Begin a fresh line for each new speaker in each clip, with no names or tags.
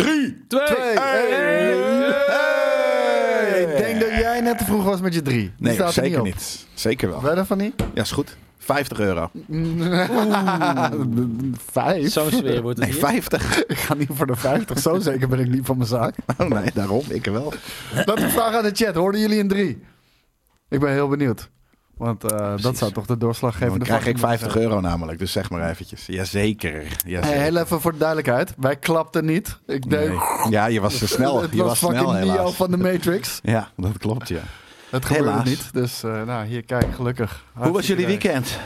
Drie, twee,
Twee.
één.
Hey.
Hey.
Ik denk dat jij net te vroeg was met je drie. Die
Nee,
staat er
zeker
op.
niet, Zeker wel.
Wel dan van niet?
Ja, is goed. 50 euro.
Vijf?
Zo'n sfeer wordt het
Nee,
hier.
50.
Ik ga niet voor de vijftig. Zo zeker ben ik niet van mijn zaak.
Oh nee, daarom. Ik wel.
Laten we vragen aan de chat. Hoorden jullie een drie? Ik ben heel benieuwd. Want eh, dat zou toch de doorslaggevende
Dan krijg
factor
ik
moeten
50
zijn.
euro namelijk. Dus zeg maar eventjes. Jazeker.
Hey,
Jazeker.
heel even voor de duidelijkheid. Wij klapten niet. Ik deed...
Nee. Ja, je was te snel.
Het
Je
was,
was
fucking
snel
Neo
helaas.
van de Matrix.
Ja, dat klopt ja.
Het gebeurde
Helaas.
niet. Dus eh, nou, hier kijk, gelukkig.
Hoe was
Hartstikke
jullie
idee.
weekend?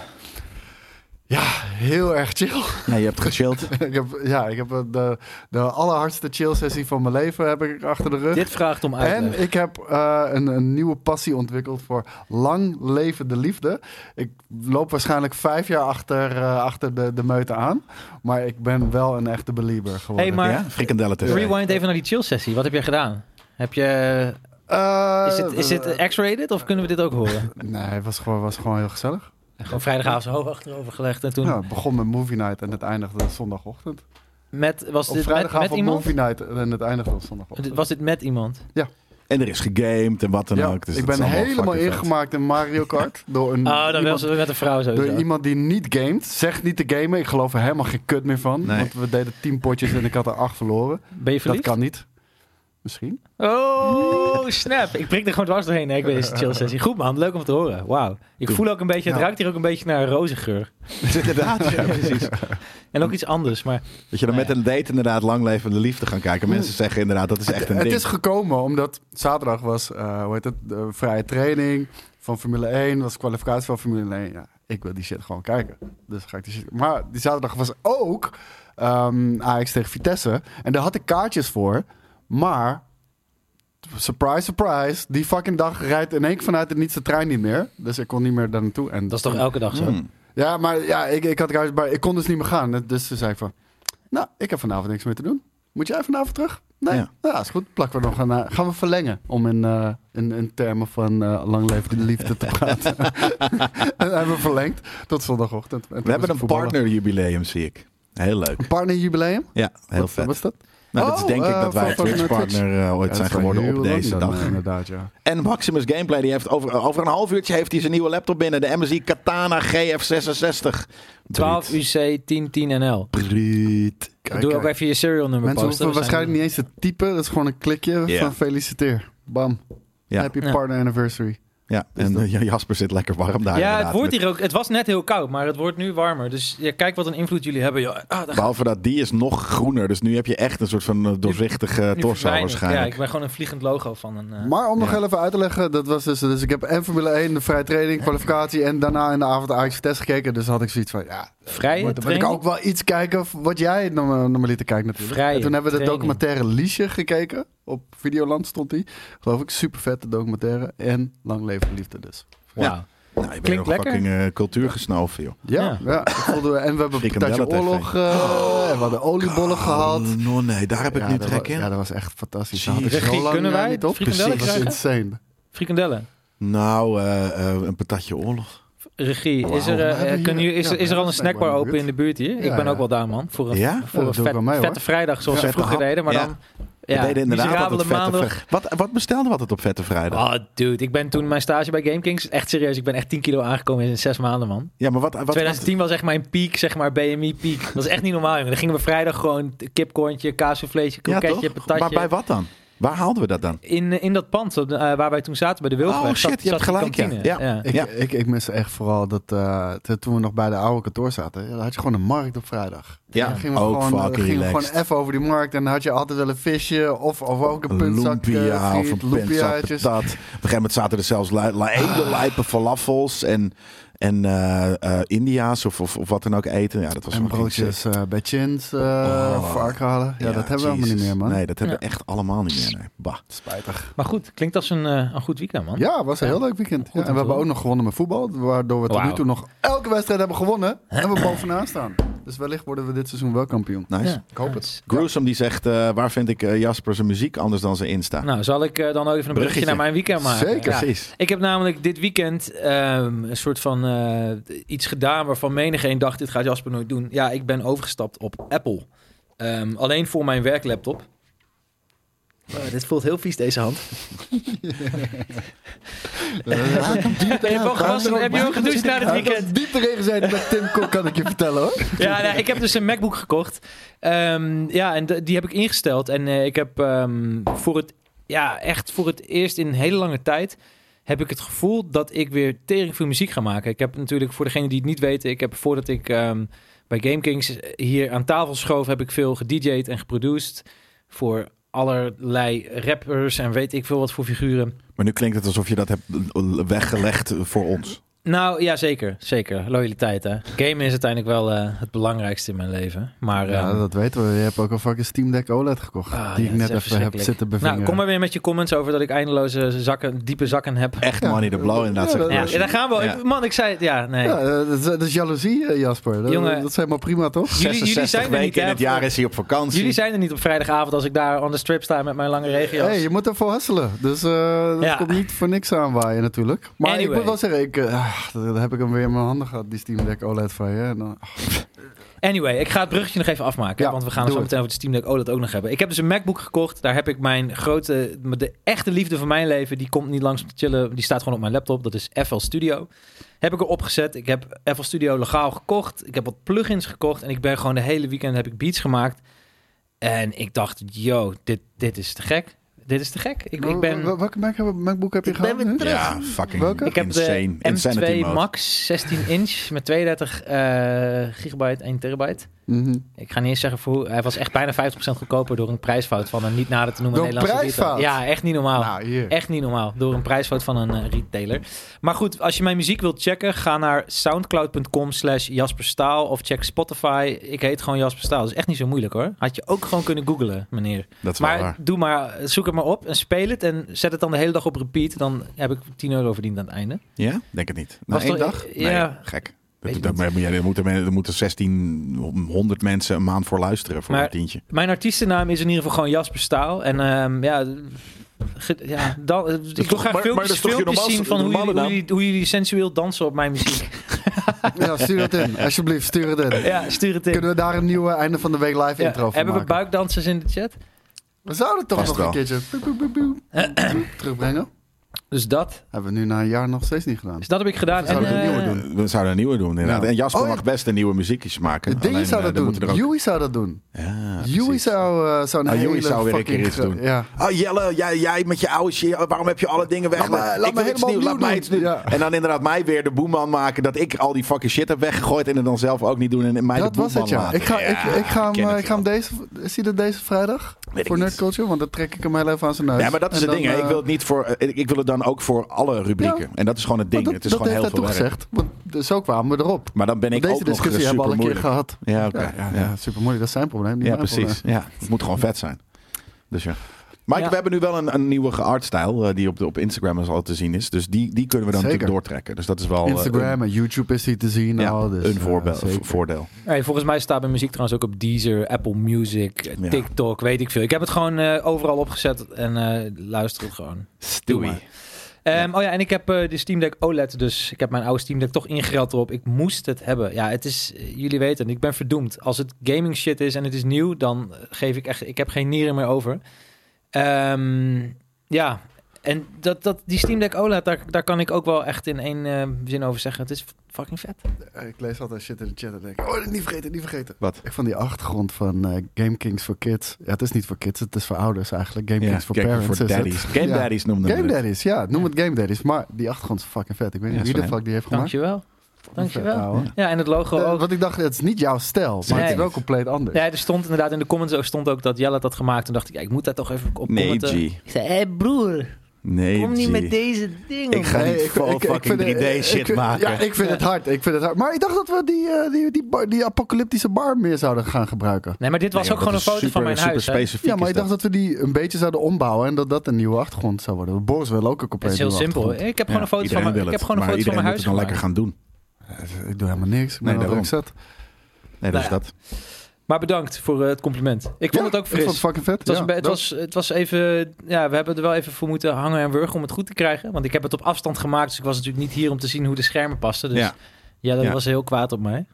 Ja, heel erg chill.
Nee, je hebt gechilled.
ik heb, ja, ik heb eh, de, de allerhardste chill sessie van mijn leven heb ik achter de rug.
Dit vraagt om uitleg.
En ik heb eh, een, een nieuwe passie ontwikkeld voor lang levende liefde. Ik loop waarschijnlijk vijf jaar achter, eh, achter de, de meute aan. Maar ik ben wel een echte belieber geworden.
Hey, maar-
Ja, frikandellen tussen.
Rewind even naar die chill sessie. Wat heb jij gedaan? Heb je,
Eh,
is, het, is het X-rated of kunnen we dit ook horen?
Nee, het was gewoon, was gewoon heel gezellig.
Gewoon vrijdagavond zo hoog achterover gelegd en toen
Ja, het begon met movie night en het eindigde zondagochtend.
met, was
Op
dit met, met
vrijdagavond
iemand?
movie night en het eindigde op zondagochtend.
Was dit met
Mm.
iemand?
En er is gegamed en wat dan
Ja,
ook. Dus
ik
dat is
ben
allemaal
helemaal
fucking vet.
ingemaakt in Mario Kart. door een,
Oh, dan
iemand,
was het met een vrouw
door
sowieso.
iemand die niet gamet. Zegt niet te gamen. Ik geloof er helemaal geen kut meer van.
Nee.
Want we deden tien potjes en ik had er acht verloren.
Ben je verliefd?
Dat kan niet. Misschien.
Oh, snap. Ik prik er gewoon dwars doorheen. Nee, ik weet het is een chill sessie. Goed man, leuk om te horen. Wauw. Ik voel ook een beetje, het
Ja.
ruikt hier ook een beetje naar een rozengeur.
Inderdaad, ja, precies.
En ook iets anders, maar
Dat je dan met een date inderdaad lang levende liefde gaan kijken. Mensen zeggen inderdaad, dat Hmm. is echt een
het
ding.
is gekomen omdat zaterdag was, eh, hoe heet het, de vrije training van Formule 1. Was kwalificatie van Formule 1. Ja, ik wil die shit gewoon kijken. Dus ga ik die shit... Maar die zaterdag was ook ehm Ajax tegen Vitesse. En daar had ik kaartjes voor. Maar, surprise, surprise, die fucking dag rijdt in één keer vanuit het niets de trein niet meer. Dus ik kon niet meer daar naartoe. En
dat is toch elke dag zo?
Mm.
Hmm.
Ja, maar ja, ik, ik, had, kaartjes, maar ik kon dus niet meer gaan. Dus toen zei ik van, nou, ik heb vanavond niks meer te doen. Moet jij vanavond terug? Nee.
Ja.
Ja, is goed. Plakken we nog een... eh, gaan we verlengen om in, eh, in, in termen van eh lang levende liefde te praten. en hebben we verlengd tot zondagochtend. En toen
We hebben
moest ik
een
voetballen.
partnerjubileum, zie ik. Heel leuk.
Een partnerjubileum?
Ja, heel
Wat-
vet.
Wat is dat?
Nou, dat is
Oh,
denk ik
eh,
dat wij
van- van
Twitch-partner eh, ooit
Ja,
zijn
dat is wel
geworden
heel
op
lang
deze
dan,
dag.
eh, Inderdaad, ja.
En Maximus Gameplay, die heeft over, over een half uurtje heeft hij zijn nieuwe laptop binnen. De MSI Katana GF66.
12 UC 10 10 NL.
Bruut.
Kijk,
Doe ook
kijk.
even je serial nummer
Mensen
posten.
hoeven waarschijnlijk niet eens te typen. Dat is gewoon een klikje
Ja.
van feliciteer. Bam.
Ja.
Happy
Ja.
partner anniversary.
Ja,
Dus
en
dat-
eh, ja, Jasper zit lekker warm daar.
Ja, het
inderdaad.
wordt
Met-
hier ook. Het was net heel koud, maar het wordt nu warmer. Dus ja, kijk wat een invloed jullie hebben. joh. Ah, daar-
Behalve dat die is nog groener. Dus nu heb je echt een soort van eh, doorzichtige eh,
nu
torso
verdwijn ik. Ja,
waarschijnlijk.
ik ben gewoon een vliegend logo van een. eh,
Maar om nog
Ja.
heel even uit te leggen, dat was dus, dus ik heb en Formule 1, de vrije training, kwalificatie en daarna in de avond Ajax test gekeken. Dus had ik zoiets van, ja,
vrije
moet- dan wil ik
training?
ook wel iets kijken v- wat jij normaal normaliter kijkt natuurlijk.
Vrije
en toen hebben we de
training.
documentaire Liesje gekeken. Op Videoland stond die. Geloof ik, super vette documentaire. En Lang Leven Liefde dus.
Wauw.
Ja. Nou, je bent
Klinkt
nog
lekker.
fucking eh, cultuur gesnoven, joh.
Ja,
Ja.
ja. dat voelden we, en we hebben een
Frikandellen
tijdje
TV.
oorlog. eh, en we hadden oliebollen gehaald.
Oh, no, nee, daar heb ik
Ja,
nu
dat
trek
wa-
in.
Ja, dat was echt fantastisch.
Jeez.
Daar had ik zo
Regie,
lang,
kunnen
eh,
wij
niet op.
frikandellen
Dat was
krijgen?
insane.
Frikandellen.
Nou, eh, eh, een patatje oorlog.
Regie, is er,
Wauw.
eh,
We hebben
kunnen
hier-
jullie- is,
ja,
is er
we
al een
hebben
snackbar
snackbar in de
open in de buurt hier? ik
Ja,
ben
ja.
ook wel daar, man. Voor een,
Ja?
Ja,
voor een
dat doe ik
vet,
wel mee, hoor.
vette vrijdag, zoals
Ja,
we vroeger
vette hap.
deden. Maar
Ja.
dan,
We
ja,
deden inderdaad
miserabele
altijd vette
maandag.
vri- Wat, wat bestelde we altijd op Vette Vrijdag?
Oh, dude, ik ben toen mijn stage bij GameKings, echt serieus, ik ben echt 10 kilo aangekomen in 6 maanden, man.
Ja, maar wat, wat
2010 was echt mijn piek, zeg maar, BMI-piek. Dat is echt niet normaal, jongen. Dan gingen we vrijdag gewoon kipkorntje, kaassouffleetje,
ja,
kroketje,
toch?
patatje.
Maar bij wat dan? Waar haalden we dat dan?
In, in dat pand op de- eh, waar wij toen zaten bij de Wilfred.
Oh, shit, je hebt
die
gelijk, ja.
kantine.
Ja.
Ik,
Ja.
ik, ik mis echt vooral dat eh, t- toen we nog bij de oude kantoor zaten, ja, dan had je gewoon een markt op vrijdag.
Ja,
Dan
ook
gewoon, dan
fucking
gingen we
relaxed.
gewoon even over die markt en dan had je altijd wel een visje of, of ook een puntzak.
lumpia
eh,
of
friet,
een pinsa,
lumpiaatjes.
patat. Op een gegeven moment zaten er zelfs li li-
Ah.
hele lijpe falafels en, en eh, eh, India's of, of, of wat dan ook eten. Ja, dat was
En
fucking
broodjes
sick.
eh bij chins, eh
Oh.
varkhalen. Ja, dat hebben we allemaal niet
Jesus.
meer, man.
Nee, dat hebben
Ja.
we echt allemaal niet meer. Nee. Bah.
Spijtig.
Maar goed, klinkt als een, eh, een goed weekend, man.
Ja, het was een heel leuk weekend. Ja,
om
en
te
we hebben
horen.
ook nog gewonnen met voetbal, waardoor we tot
Wauw.
nu toe nog elke wedstrijd hebben gewonnen en we bovenaan staan. Dus wellicht worden we dit seizoen wel kampioen.
Nice.
Ja.
Ik hoop het.
Nice.
Gruesome die zegt, eh, waar vind ik eh, Jasper zijn muziek anders dan zijn Insta?
Nou, zal ik eh, dan ook even een bruggetje
Bruggetje.
naar mijn weekend maken?
Zeker.
Ja.
Precies.
Ik heb namelijk dit weekend ehm, een soort van eh, iets gedaan waarvan menigeen dacht, dit gaat Jasper nooit doen. Ja, ik ben overgestapt op Apple. Ehm, alleen voor mijn werklaptop. Oh, dit voelt heel vies, deze hand.
Eh,
Heb je ook gewassen? Heb je ook gedoucht na dit weekend?
Diep erin gezeten met Tim Kok, kan ik je vertellen hoor.
Ja, nou, ik heb dus een MacBook gekocht. Ehm, ja, en de- die heb ik ingesteld. En eh, ik heb ehm, voor het, ja, echt voor het eerst in een hele lange tijd... heb ik het gevoel dat ik weer tering veel muziek ga maken. Ik heb natuurlijk, voor degenen die het niet weten... ik heb voordat ik ehm, bij GameKings hier aan tafel schoof... heb ik veel gedj'd en geproduced voor allerlei rappers... en weet ik veel wat voor figuren.
Maar nu klinkt het alsof je dat hebt eh, weggelegd voor ons.
Nou ja, zeker. Zeker. Loyaliteit, hè. Gamen is uiteindelijk wel eh, het belangrijkste in mijn leven. Maar,
Ja,
ehm,
dat weten we. Je hebt ook een fucking Steam Deck OLED gekocht.
Ah,
die
ja,
ik net
dat is
even heb
verschrikkelijk.
zitten bevingeren.
nou,
eh,
kom maar weer met je comments over dat ik eindeloze zakken, diepe zakken heb.
Echt money the blow inderdaad. zegt
Ja,
Lars.
daar gaan we.
Ja.
Ik- Man, ik zei het. Ja, nee.
Ja, eh, dat, is, dat is jaloezie, eh, Jasper. Dat,
Jongen.
dat is helemaal prima, toch?
Jullie- jullie
66
zijn er
weken
niet,
in
hè,
het jaar
voor-
is hij op vakantie.
Jullie zijn er niet op vrijdagavond als ik daar on the strip sta met mijn lange regio's.
Hey, je moet ervoor hasselen. Dus eh, dat
Ja.
komt niet voor niks aanwaaien natuurlijk. Maar ik
Anyway.
moet wel zeggen, ik, eh, ah, dan heb ik hem weer in mijn handen gehad, die Steam Deck OLED van je. Nou, En dan-
Anyway, ik ga het bruggetje nog even afmaken.
Ja,
want we gaan
doe
zo meteen over de Steam Deck OLED ook nog hebben. Ik heb dus een MacBook gekocht. Daar heb ik mijn grote... De echte liefde van mijn leven, die komt niet langs om te chillen. Die staat gewoon op mijn laptop. Dat is FL Studio. Heb ik erop gezet. Ik heb FL Studio legaal gekocht. Ik heb wat plugins gekocht. En ik ben gewoon de hele weekend heb ik beats gemaakt. En ik dacht, yo, dit, dit is te gek. Dit is te gek. Ik, ik ben...
oh, Wel- Welke Mac heb, MacBook heb je
Ik ben
gehad?
weer
nu?
terug.
Ja, fucking
Welke?
Ik heb
insane.
de
Insanity
M2
mode.
Max 16 inch met 32 eh, gigabyte, 1 terabyte.
Mhm.
Ik ga niet eens zeggen voor hoe. Hij was echt bijna 50% goedkoper door een prijsfout van een niet nader te noemen
Door een
Nederlandse
prijsfout?
retailer. Ja, echt niet normaal.
Nou, hier.
Echt niet normaal. Door een prijsfout van een eh, retailer. Maar goed, als je mijn muziek wilt checken, ga naar soundcloud.com slash Jasper Staal of check Spotify. Ik heet gewoon Jasper Staal. Dat is echt niet zo moeilijk hoor. Had je ook gewoon kunnen googlen, meneer.
Dat is wel
Maar
waar.
doe maar, zoek het maar op en speel het en zet het dan de hele dag op repeat. Dan heb ik 10 euro verdiend aan het einde.
Ja? Denk het niet. Na
Was
één
toch-
dag?
eh, ja.
Nee, gek.
Weet
Dat,
je
dat,
niet.
moet je- er moeten, men- er moeten 1600 mensen een maand voor luisteren voor
Maar-
een tientje.
Mijn artiestennaam is in ieder geval gewoon Jasper Staal. En ehm, ja, ge- ja dan, eh, ik wil
toch- maar-
graag
maar dat
filmpjes,
is toch je
filmpjes
normaalste-
zien van hoe
normale
jullie,
naam?
hoe, jullie, hoe jullie sensueel dansen op mijn muziek.
Ja, stuur het in. Alsjeblieft, stuur het in.
ja, stuur het in.
Kunnen we daar een nieuwe einde van de week live
Ja,
intro van
hebben we
maken?
buikdansers in de chat?
We zouden toch
Vast
nog
wel.
een keertje boep, boep, boep, boep, terugbrengen.
Dus dat,
Hebben we nu na een jaar nog steeds niet gedaan.
dus dat heb ik gedaan. En,
Zouden we
eh,
nieuwe doen?
We zouden een nieuwe doen, inderdaad.
Ja.
En Jasper
Oh, ja.
mag best een nieuwe muziekjes maken.
Dingen
Alleen,
zou
eh,
dat
dan
doen.
moeten er ook-
Joey zou dat doen.
Ja,
Joey
precies.
zou, eh, zou een
Oh,
hele
Joey zou weer een
fucking
keer iets
gro-
doen.
Ja.
Oh Jelle, jij, jij met je oude shit, waarom heb je alle dingen
Laat me-
weggelegd?
laat
Ik
me
wil iets
helemaal
nieuws, laat
opnieuw
mij
doen.
iets nieuws.
Ja.
En dan inderdaad mij weer de boeman maken dat ik al die fucking shit heb weggegooid en het dan zelf ook niet doen en mij
Dat
de
was
boeman
het, ja.
laten.
Ik ga,
Ja,
ik, ik ga
ken
hem, eh,
het
ik ga hem
wel.
deze... Is hij er deze vrijdag?
Weet ik
voor
niet.
Nerd Culture? Want dan trek ik hem heel even aan zijn neus.
Ja, maar dat is
En
het ding.
dan,
hè. ik,
eh,
wil het niet voor, eh, ik ik wil het dan ook voor alle rubrieken.
Ja.
En dat is gewoon het ding.
want Dat,
het is
dat
gewoon heel
heeft
veel
hij
werk.
toch gezegd. Want eh, zo kwamen we erop.
Maar dan ben ik
deze
ook nog
discussie
super
hebben we al een keer
moeilijk.
gehad.
Ja, oké.
Ja,
ja.
super moeilijk. Dat is zijn probleem. niet
Ja,
mijn
precies. Ja, het moet gewoon vet zijn. Dus ja. Mike,
Ja.
we hebben nu wel een, een nieuwe artstijl eh, die op, de, op Instagram al te zien is. Dus die, die kunnen we dan
Zeker.
natuurlijk doortrekken. Dus dat is wel eh,
probleem. Instagram en YouTube is hij te zien.
een, ja,
Nou,
al, dus,
een
eh,
voorbeeld,
zeker.
voordeel.
hey, volgens mij staat mijn muziek trouwens ook op Deezer, Apple Music, eh,
Ja.
TikTok, weet ik veel. Ik heb het gewoon eh, overal opgezet en eh, luister het gewoon. Doe maar. Ehm, Oh ja, en ik heb eh, de Steam Deck OLED, dus ik heb mijn oude Steam Deck toch ingereld erop. Ik moest het hebben. Ja, het is, eh, jullie weten, ik ben verdoemd. Als het gaming shit is en het is nieuw, dan eh, geef ik echt, ik heb geen nieren meer over. Ehm, ja, en dat, dat, die Steam Deck OLED, E daar, daar kan ik ook wel echt in één eh, zin over zeggen. Het is fucking vet.
Eh, Ik lees altijd shit in de chat en denk ik, oh, niet vergeten, niet vergeten.
Wat?
Ik vond die achtergrond van eh, Game Kings voor Kids. Ja, het is niet voor kids, het is voor ouders eigenlijk. Game
Ja,
Kings voor
kijk,
Parents
voor
is het.
daddies. Game
Ja.
daddies noemden we
Game
het.
Daddies, ja. Noem het Game Daddies. Maar die achtergrond is fucking vet. Ik weet
Ja,
niet wie
is
de
van
fuck die heeft gemaakt.
Dankjewel.
Vet,
Dankjewel.
ouwe.
Ja, en het logo
Eh,
ook.
want ik dacht, het is niet jouw stijl, maar het is
Nee.
wel compleet anders.
Ja, er stond inderdaad in de comments ook, stond ook dat Jelle het had gemaakt. Toen dacht ik, ja, ik moet daar toch even op eh,
Nee,
commenten.
G.
Ik zei, hé broer,
Nee,
kom niet
G.
met deze dingen.
Ik ga
Nee,
niet
ik-
voor
ik- ik
fucking
vind het-
3D
ik-
shit
ik-
maken.
Ja, ik vind het hard. Ik vind het hard. Maar ik dacht dat we die, eh, die, die, bar- die apocalyptische bar meer zouden gaan gebruiken.
Nee, maar dit was
Nee,
ook
dat
gewoon een
is
foto
super-
van mijn
super
huis. hè.
specifiek
Ja, maar
is
ik dacht dat we die een beetje zouden ombouwen en dat dat een nieuwe achtergrond zou worden. Want Boris wil ook een
Het
compleet
is heel
nieuwe
simpel.
achtergrond.
Ik heb
Ja,
gewoon een foto van
iedereen
mijn,
wil
ik heb
het,
gewoon een
maar
foto van mijn
iedereen moet het dan
huis gemaakt.
lekker gaan doen.
Ik doe helemaal niks. Ik ben
Nee,
al
daarom.
druk zat.
Nee, dus
Nou ja.
dat.
Maar bedankt voor eh, het compliment. Ik vond
Ja,
het ook fris.
Ik vond het fucking vet.
het was,
ja.
een be- het, was, het was even, ja, we hebben er wel even voor moeten hangen en wurgen om het goed te krijgen. Want ik heb het op afstand gemaakt, dus ik was natuurlijk niet hier om te zien hoe de schermen pasten. Dus
Ja.
ja, dat
Ja.
was heel kwaad op mij.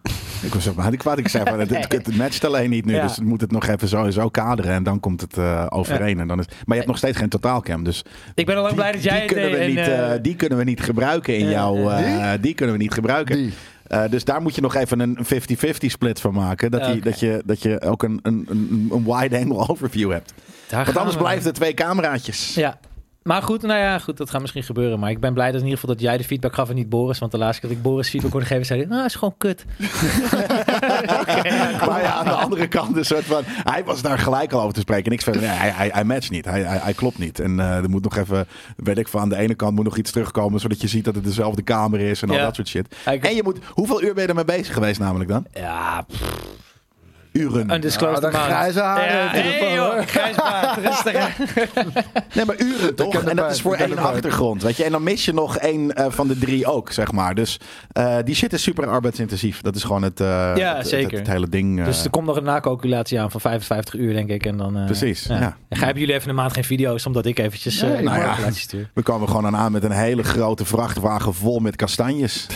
Ik was zeg maar kwaad. Ik zei van, het, het, het matcht alleen niet nu.
Ja.
Dus het moet het nog even zo, zo kaderen. En dan komt het eh, overeen. En dan is, maar je hebt nog steeds geen totaalcam. Dus
Ik ben al lang
die,
blij dat jij
die
het
kunnen
deed
we
en,
niet,
eh,
eh, die kunnen we niet gebruiken in
eh,
jouw... eh, die kunnen we niet gebruiken.
Die.
Eh, dus daar moet je nog even een 50-50 split van maken. Dat, die,
Oké.
dat, je, dat je ook een, een, een, een wide-angle overview hebt.
Daar gaan
Want anders
we.
blijft het twee cameraatjes.
Ja. Maar goed, nou ja, goed, dat gaat misschien gebeuren. Maar ik ben blij dat in ieder geval dat jij de feedback gaf en niet Boris. Want de laatste keer dat ik Boris feedback kon geven, zei hij, nou, is gewoon kut.
Maar ja, aan de andere kant een soort van... Hij was daar gelijk al over te spreken. En ik zei, nee, hij, hij, hij matcht niet. Hij, hij, hij klopt niet. En eh, er moet nog even, weet ik van, aan de ene kant moet nog iets terugkomen... zodat je ziet dat het dezelfde kamer is en al
Ja.
dat soort shit.
Ja, ik-
En je moet... Hoeveel uur ben je ermee bezig geweest namelijk dan?
Ja, pff,
Uren.
undisclosed
Ja, dat
amount.
grijze haar
Ja,
heeft in ieder
nee,
geval,
joh,
hoor.
grijs baard, rustig. hè.
Nee, maar uren toch?
ken de
En dat
pijn,
is voor
ik ken
één
de pijn.
achtergrond, weet je. En dan mis je nog één eh, van de drie ook, zeg maar. Dus eh, die shit is super arbeidsintensief. Dat is gewoon het, eh, het- het,
zeker.
Het, hele ding. eh,
Dus er komt nog een nacalculatie aan van 55 uur, denk ik. En dan, eh,
Precies,
ja.
ja.
En ga hebben jullie even een maand geen video's, omdat ik eventjes eh
Nee,
een
nou ja.
calculatie stuur.
We komen gewoon aan met een hele grote vrachtwagen vol met kastanjes.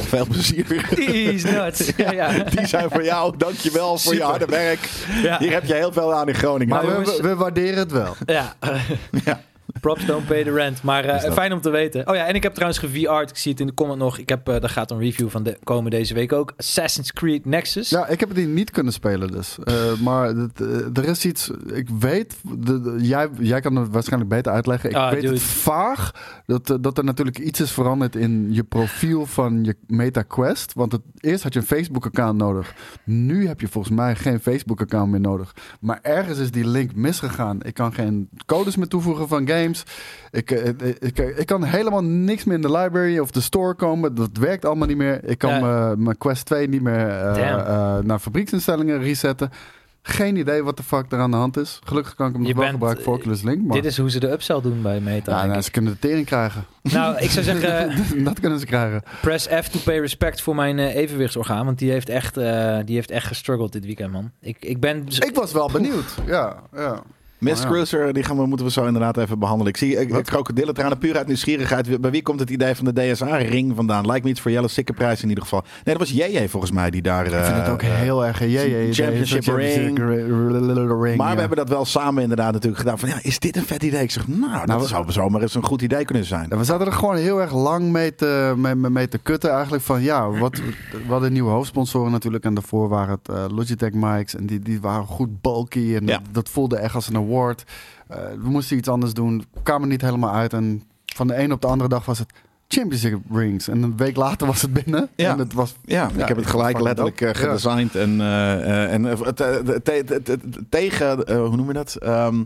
Veel plezier.
Die is nuts. Ja, ja.
Die zijn voor jou. Dankjewel voor je
Super.
harde werk.
Ja.
Hier heb je heel veel aan in Groningen.
Maar
Nou,
we,
jongens-
we- we waarderen het wel.
Ja.
Ja.
Props don't pay the rent. Maar eh,
Is dat.
fijn om te weten. Oh ja, en ik heb trouwens geVR'd. Ik zie het in de comment nog. Ik heb, eh daar gaat een review van de, komen deze week ook. Assassin's Creed Nexus.
Ja, ik heb die niet kunnen spelen dus. Eh, maar het, eh, er is iets... Ik weet... de- de- jij, jij kan het waarschijnlijk beter uitleggen. Ik
Ah,
weet
dude.
het vaag dat, eh, dat er natuurlijk iets is veranderd in je profiel van je MetaQuest. Want het, eerst had je een Facebook-account nodig. Nu heb je volgens mij geen Facebook-account meer nodig. Maar ergens is die link misgegaan. Ik kan geen codes meer toevoegen van games. Ik, eh, ik, ik, ik kan helemaal niks meer in de library of de store komen. Dat werkt allemaal niet meer. Ik kan
Ja.
mijn- mijn Quest 2 niet meer... eh,
Damn.
eh, naar fabrieksinstellingen resetten. Geen idee wat de fuck er aan de hand is. Gelukkig kan ik hem
Je
nog wel
bent-
gebruiken voor Oculus Link. Maar
Dit is hoe ze de upsell doen bij Meta.
ja,
denk
nou,
ik.
ze kunnen de tering krijgen.
Nou, ik zou zeggen, eh,
dat kunnen ze krijgen.
press F to pay respect voor mijn eh, evenwichtsorgaan. Want die heeft, echt, eh, die heeft echt gestruggeld dit weekend, man. Ik, ik ben...
Ik was wel benieuwd. Ja, ja.
Miss
Oh ja.
Cruiser, die gaan we, moeten we zo inderdaad even behandelen. Ik zie eh,
Wat?
krokodillentranen puur uit nieuwsgierigheid. Bij wie komt het idee van de DSA-ring vandaan? Lijkt me iets voor Jelle Sikke prijs in ieder geval. Nee, dat was JJ volgens mij die daar...
Ik vind het
eh,
ook
eh,
heel erg. jee, jee,
Championship
jee,
ring.
ring, ring,
Maar
ja.
we hebben dat wel samen inderdaad natuurlijk gedaan. Van, ja, is dit een vet idee? Ik zeg, nou, dat
we-
zou zomaar eens een goed idee kunnen zijn.
Ja, We zaten er gewoon heel erg lang mee te, mee, mee- mee te kutten eigenlijk. Van ja, wat, we hadden nieuwe hoofdsponsoren natuurlijk. En daarvoor waren het eh, Logitech mics. En die, die waren goed bulky. En
Ja.
dat, dat voelde echt als een award. Eh, we moesten iets anders doen. Kwam er niet helemaal uit. En van de een op de andere dag was het Championship rings. En een week later was het binnen.
Ja.
En het was...
Ja,
Ja,
ik heb het
ik
gelijk
vang
letterlijk
het
eh,
ook.
gedesigned. En, eh, eh, en eh, het, eh, te- te- te- te- tegen, eh, hoe noem je dat? Ehm,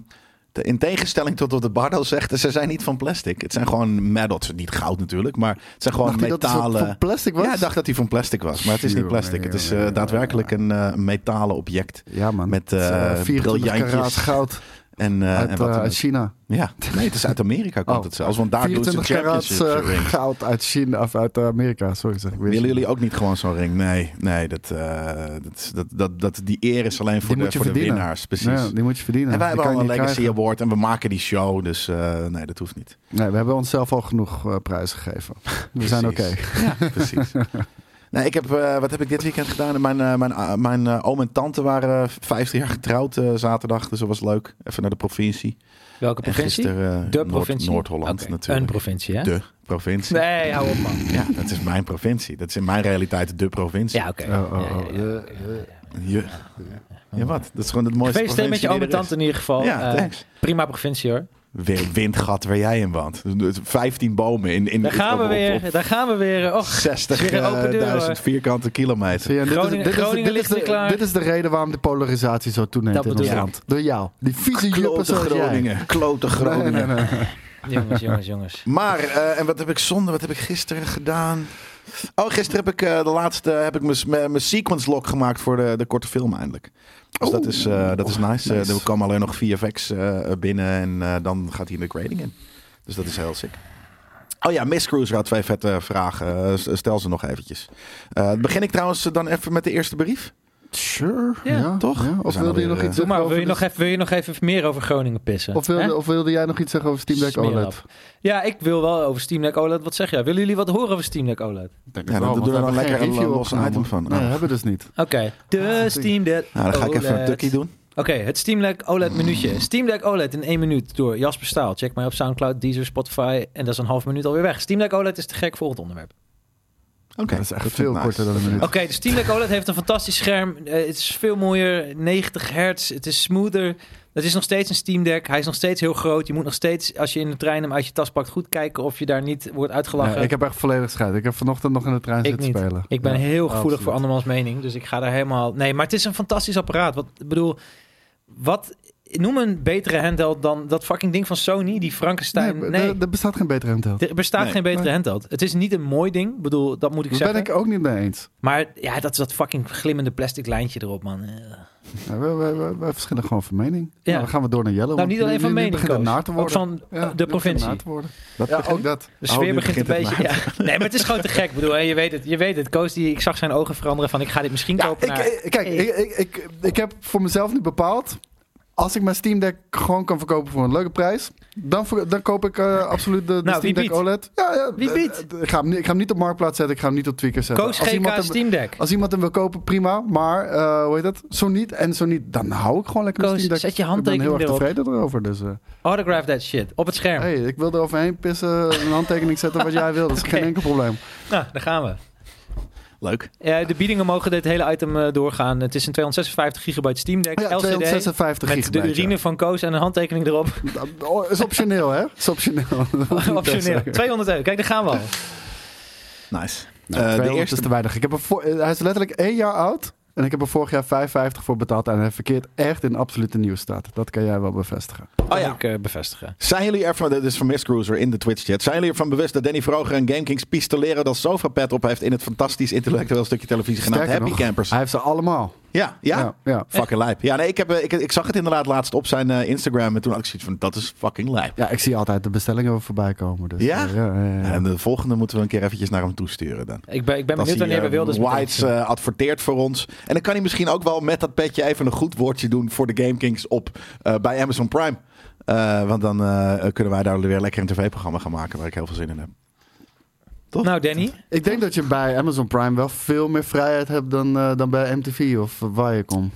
te- in tegenstelling tot wat de Bardo zegt, ze zijn niet van plastic. Het zijn gewoon metal. Het is niet goud natuurlijk, maar het zijn gewoon
dacht hij dat het soort
metalen.
van plastic was?
ja, ik dacht dat die van plastic was, maar het is niet
Jongen,
plastic. Het is eh,
jongen,
daadwerkelijk een eh, metalen object.
Ja, man.
Met,
Het is,
eh,
24
briljantjes.
karaat goud
En, eh,
uit
en wat
eh,
dan ook.
China.
Ja, nee, het is uit Amerika komt
Oh.
het zelfs, want daar doen ze
24 karaat
championships
eh,
ring.
goud uit China of uit eh, Amerika. Sorry, zeg ik weer.
Willen jullie ook niet gewoon zo'n ring? Nee, nee dat, eh, dat, dat, dat, dat, die eer is alleen voor,
Die
de,
moet je
voor de
verdienen.
winnaars. Precies.
Ja, die moet je verdienen.
En wij
Die
hebben al
kan je
een
niet
Legacy
krijgen.
Award en we maken die show. Dus eh, nee, dat hoeft niet.
Nee, we hebben onszelf al genoeg eh, prijzen gegeven. We zijn oké.
Ja, precies. Nee, ik heb, eh, wat heb ik dit weekend gedaan? Mijn, eh, mijn, ah, mijn eh, oom en tante waren eh, 50 jaar getrouwd eh, zaterdag. Dus dat was leuk. Even naar de provincie.
Welke
En
provincie?
gisteren eh,
de
Noord-
provincie?
Noord-Holland
Oké,
natuurlijk.
Een provincie, hè?
De provincie.
Nee, hou op, man.
Ja, dat is mijn provincie. Dat is in mijn realiteit de provincie.
Ja, oké.
Oh, oh, oh.
Ja, ja, ja.
Je, ja, wat? Dat is gewoon het mooiste
Gefeliciteerd met je oom
provincie
en
die er
tante in ieder geval.
is. Ja,
Eh,
thanks.
prima provincie, hoor.
Weer windgat waar jij in woont. 15 bomen in, in
Daar gaan we
op- op-
weer. Daar gaan we weer. Och, Weer een open deur,
60.000
hoor.
vierkante kilometer.
Zie je, dit is-
Groningen-
dit is- dit
Groningen
is
ligt
de-
weer klaar.
Dit is de reden waarom de polarisatie zo toeneemt
Dat
in ons
bedoel
ik.
land. Door jou. Die vieze juppen
Klote
zoals jij.
Groningen. Klote Groningen.
Nee, nee, nee.
jongens, jongens, jongens.
Maar, eh, en wat heb ik zonde? Wat heb ik gisteren gedaan? Oh, gisteren heb ik eh, de laatste, heb ik mijn- mijn mijn sequence log gemaakt voor de, de korte film eindelijk. Dus dat is, eh, dat is nice. Eh,
nice.
er komen alleen nog VFX eh binnen en eh, dan gaat hij in de grading in. Dus dat is heel sick. Oh ja, Miss Cruiser had twee vette vragen. Eh, s- stel ze nog eventjes. Eh, begin ik trouwens dan even met de eerste brief?
Sure.
Ja,
toch?
ja.
We
Of
zijn
wilde je
alweer,
nog
eh,
iets zeggen
Doe maar, wil
over
je, nog
de-
even, wil je nog even meer over Groningen pissen?
Of
Hè?
wilde, of wilde jij nog iets zeggen over Steam Deck
Smeer
OLED?
af. Ja, ik wil wel over Steam Deck OLED wat zeggen. Ja, willen jullie wat horen over Steam Deck OLED?
Ja, dan doen we dan lekker een los item van.
Nee,
Oh.
hebben we dus niet.
Oké, de
natuurlijk.
Steam Deck
Ah, Nou,
Oh,
dan ga ik even een
OLED.
tukkie doen.
Oké, het Steam Deck OLED E minuutje. Steam Deck OLED E in één minuut door Jasper Staal. Check mij op Soundcloud, Deezer, Spotify. En dat is een half minuut alweer weg. Steam Deck OLED E is te gek volgend onderwerp.
Oké,
Dat is echt
vind
veel
ik nice.
korter dan een minuut.
Oké, de Steam Deck OLED E heeft een fantastisch scherm. Eh, het is veel mooier, 90 hertz. Het is smoother. Het is nog steeds een Steam Deck. Hij is nog steeds heel groot. Je moet nog steeds, als je in de trein hem uit je tas pakt, goed kijken of je daar niet wordt uitgelachen.
Nee, Nou, ik heb echt volledig scheid. Ik heb vanochtend nog in de trein
Ik
zitten
niet.
spelen.
Ik ben
Ja.
heel
absoluut.
gevoelig voor andermans mening, dus ik ga daar helemaal... Nee, maar het is een fantastisch apparaat. Wat, ik bedoel, wat... Noem een betere handheld dan dat fucking ding van Sony, die Frankenstein... Nee,
Nee, er- er bestaat geen betere handheld.
er bestaat
Nee,
geen betere
maar-
handheld. Het is niet een mooi ding, Ik bedoel, dat moet ik
Daar
zeggen.
ben ik ook niet mee eens.
Maar ja, dat is dat fucking glimmende plastic lijntje erop, man. Eh.
Ja, wij, wij- wij- wij verschillen gewoon van mening.
Ja.
Nou, dan gaan we door naar Jelle.
Nou,
want
niet
die-
alleen van
die- die
mening,
begint
Koos.
naar te
Ook
worden.
van
Ja, die
de
begint
provincie.
naar te worden.
Dat
Ja,
begint-
ook dat.
De
Oh,
sfeer
nu
begint een
begint het
beetje... ja. Nee, maar het is gewoon te gek. Ik bedoel, hè, je weet het. Je weet het. Koos, die, ik zag zijn ogen veranderen van ik ga dit misschien
Ja,
kopen.
ik,
maar-
ik- kijk, ik, ik, ik, ik heb voor mezelf nu bepaald. Als ik mijn Steam Deck gewoon kan verkopen voor een leuke prijs, dan, ver- dan koop ik eh, absoluut de, de
Nou, wie
Steam Deck
biedt?
OLED. Ja, ja,
Wie
eh,
biedt?
eh, Ik ga, hem, niet- ik ga hem niet op Marktplaats zetten, ik ga hem niet op Tweaker zetten.
Koos
als, iemand
GK
hem,
Steam Deck.
als iemand hem wil kopen, prima. Maar eh, hoe heet dat? Zo niet en zo niet, dan hou ik gewoon lekker mijn
Koos,
Steam Deck. ik
zet je
ben
handtekening
heel
erop.
erg tevreden erover. Dus, eh,
Autograph that shit. Op het scherm.
hey, ik wil er overheen pissen, een handtekening zetten wat jij wil. Dat is
Oké.
geen enkel probleem.
Nou, daar gaan we.
Leuk.
Eh, de biedingen mogen dit hele item eh, doorgaan. Het is een 256 gigabyte Steam Deck
Oh Ja,
LCD.
256
met de
gigabyte, ja.
urine van Koos en een handtekening erop.
Dat oh, is optioneel, hè? Is Oh optioneel. Dat hoeft niet per
Optioneel.
se.
200 euro. Kijk, daar gaan we al.
Nice.
Nou,
Eh,
200
de eerste
is te weinig. Ik heb er voor- eh, hij is letterlijk één jaar oud. En ik heb er vorig jaar 5,50 voor betaald. En hij verkeert echt in absolute nieuwsstaat. Dat kan jij wel bevestigen.
Oh ja.
Kan ik eh, bevestigen.
Zijn jullie ervan, dit is van Miss Cruiser in de Twitch-chat. Zijn jullie ervan bewust dat Danny Vroger en GameKings pistoleren dat Sofapad op heeft in het fantastisch intellectueel stukje televisie genaamd
Sterker
Happy
nog,
Campers?
Hij heeft ze allemaal.
Ja, ja.
Ja, ja.
Fucking lijp. Ja, nee, ik, heb, eh, ik, ik zag het inderdaad laatst op zijn eh, Instagram en toen had ik zoiets van, dat is fucking lijp.
Ja, ik zie altijd de bestellingen wel voorbij komen. Dus,
Ja?
eh, ja, ja, ja.
En de volgende moeten we een keer eventjes naar hem toesturen dan.
Ik ben, ik ben
Als
benieuwd
hij
wanneer we
eh,
Wilders meteen
Whites
zien.
eh, adverteert voor ons. En dan kan hij misschien ook wel met dat petje even een goed woordje doen voor de GameKings op eh, bij Amazon Prime. Eh, want dan eh, kunnen wij daar weer lekker een tv-programma gaan maken waar ik heel veel zin in heb. toch?
Nou, Danny.
Ik denk dat je bij Amazon Prime wel veel meer vrijheid hebt dan, eh, dan bij MTV of waar je komt.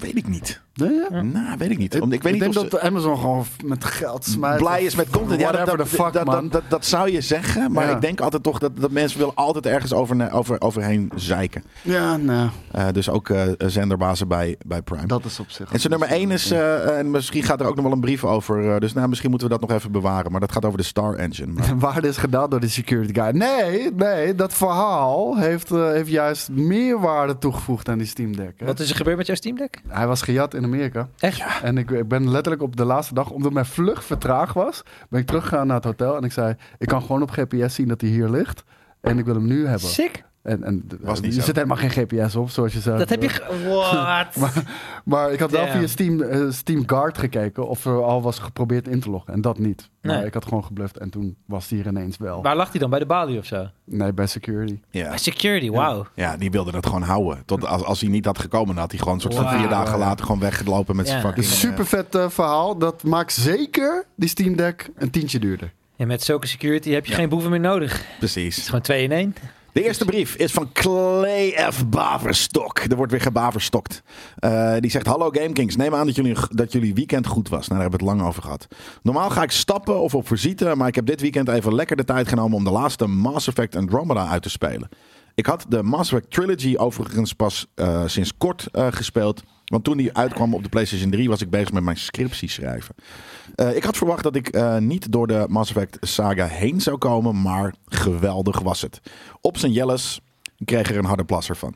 Weet ik niet.
Nee, ja?
Nou, weet ik niet. Om- ik weet niet
denk
of ze
dat Amazon gewoon f- met geld smijt.
blij is met content. Ja, dat, dat,
de fuck,
dat,
man.
dat, dat, dat zou je zeggen. Maar
Ja.
ik denk altijd toch dat, dat mensen willen altijd ergens over, over, overheen zeiken.
ja, nou,
Eh, dus ook eh, zenderbazen bij, bij Prime.
dat is op zich.
En zijn nummer 1 is, eh, en misschien gaat er ook nog wel een brief over. eh, dus nou, misschien moeten we dat nog even bewaren. Maar dat gaat over de Star Engine. Maar,
De waarde is gedaan door de security guy. Nee, nee, dat verhaal heeft, eh, heeft juist meer waarde toegevoegd aan die Steam Deck. hè.
Wat is er gebeurd met jouw Steam Deck?
Hij was gejat in Amerika.
Echt?
En ik, ik ben letterlijk op de laatste dag, omdat mijn vlucht vertraagd was, ben ik teruggegaan naar het hotel en ik zei, ik kan gewoon op GPS zien dat hij hier ligt. En ik wil hem nu hebben.
Sick.
En, en
Was
eh,
niet
er
zo.
zit helemaal geen GPS op, zoals je zei.
Dat heb je... ge- What?
Maar ik had wel
Damn.
via Steam, eh, Steam Guard gekeken of er al was geprobeerd in te loggen. En dat niet. Maar
Nee.
ik had gewoon gebluft en toen was hij er ineens wel.
Waar lag hij dan? Bij de balie of zo? Ah,
Nee, bij security.
ja.
Security, wauw.
ja, die wilde dat gewoon houden. Tot, als, als hij niet had gekomen, dan had hij gewoon een soort van
Wauw.
vier dagen later gewoon weggelopen met zijn
Ja.
fucking...
Dus super vet eh, verhaal. Dat maakt zeker die Steam Deck een tientje duurder.
En met zulke security heb je
Ja.
geen boeven meer nodig. Het
eh,
is
precies.
gewoon 2 in 1.
De eerste brief is van Clay F. Baverstok. Er wordt weer gebaverstokt. Eh, die zegt: Hallo GameKings. Neem aan dat jullie, dat jullie weekend goed was. Nou, daar hebben we het lang over gehad. Normaal ga ik stappen of op visite. Maar ik heb dit weekend even lekker de tijd genomen om de laatste Mass Effect Andromeda uit te spelen. Ik had de Mass Effect Trilogy overigens pas eh, sinds kort eh, gespeeld. Want toen die uitkwam op de PlayStation 3 was ik bezig met mijn scriptie schrijven. Eh, ik had verwacht dat ik eh, niet door de Mass Effect saga heen zou komen, maar geweldig was het. Op zijn Jelles kreeg er een harde plasser van.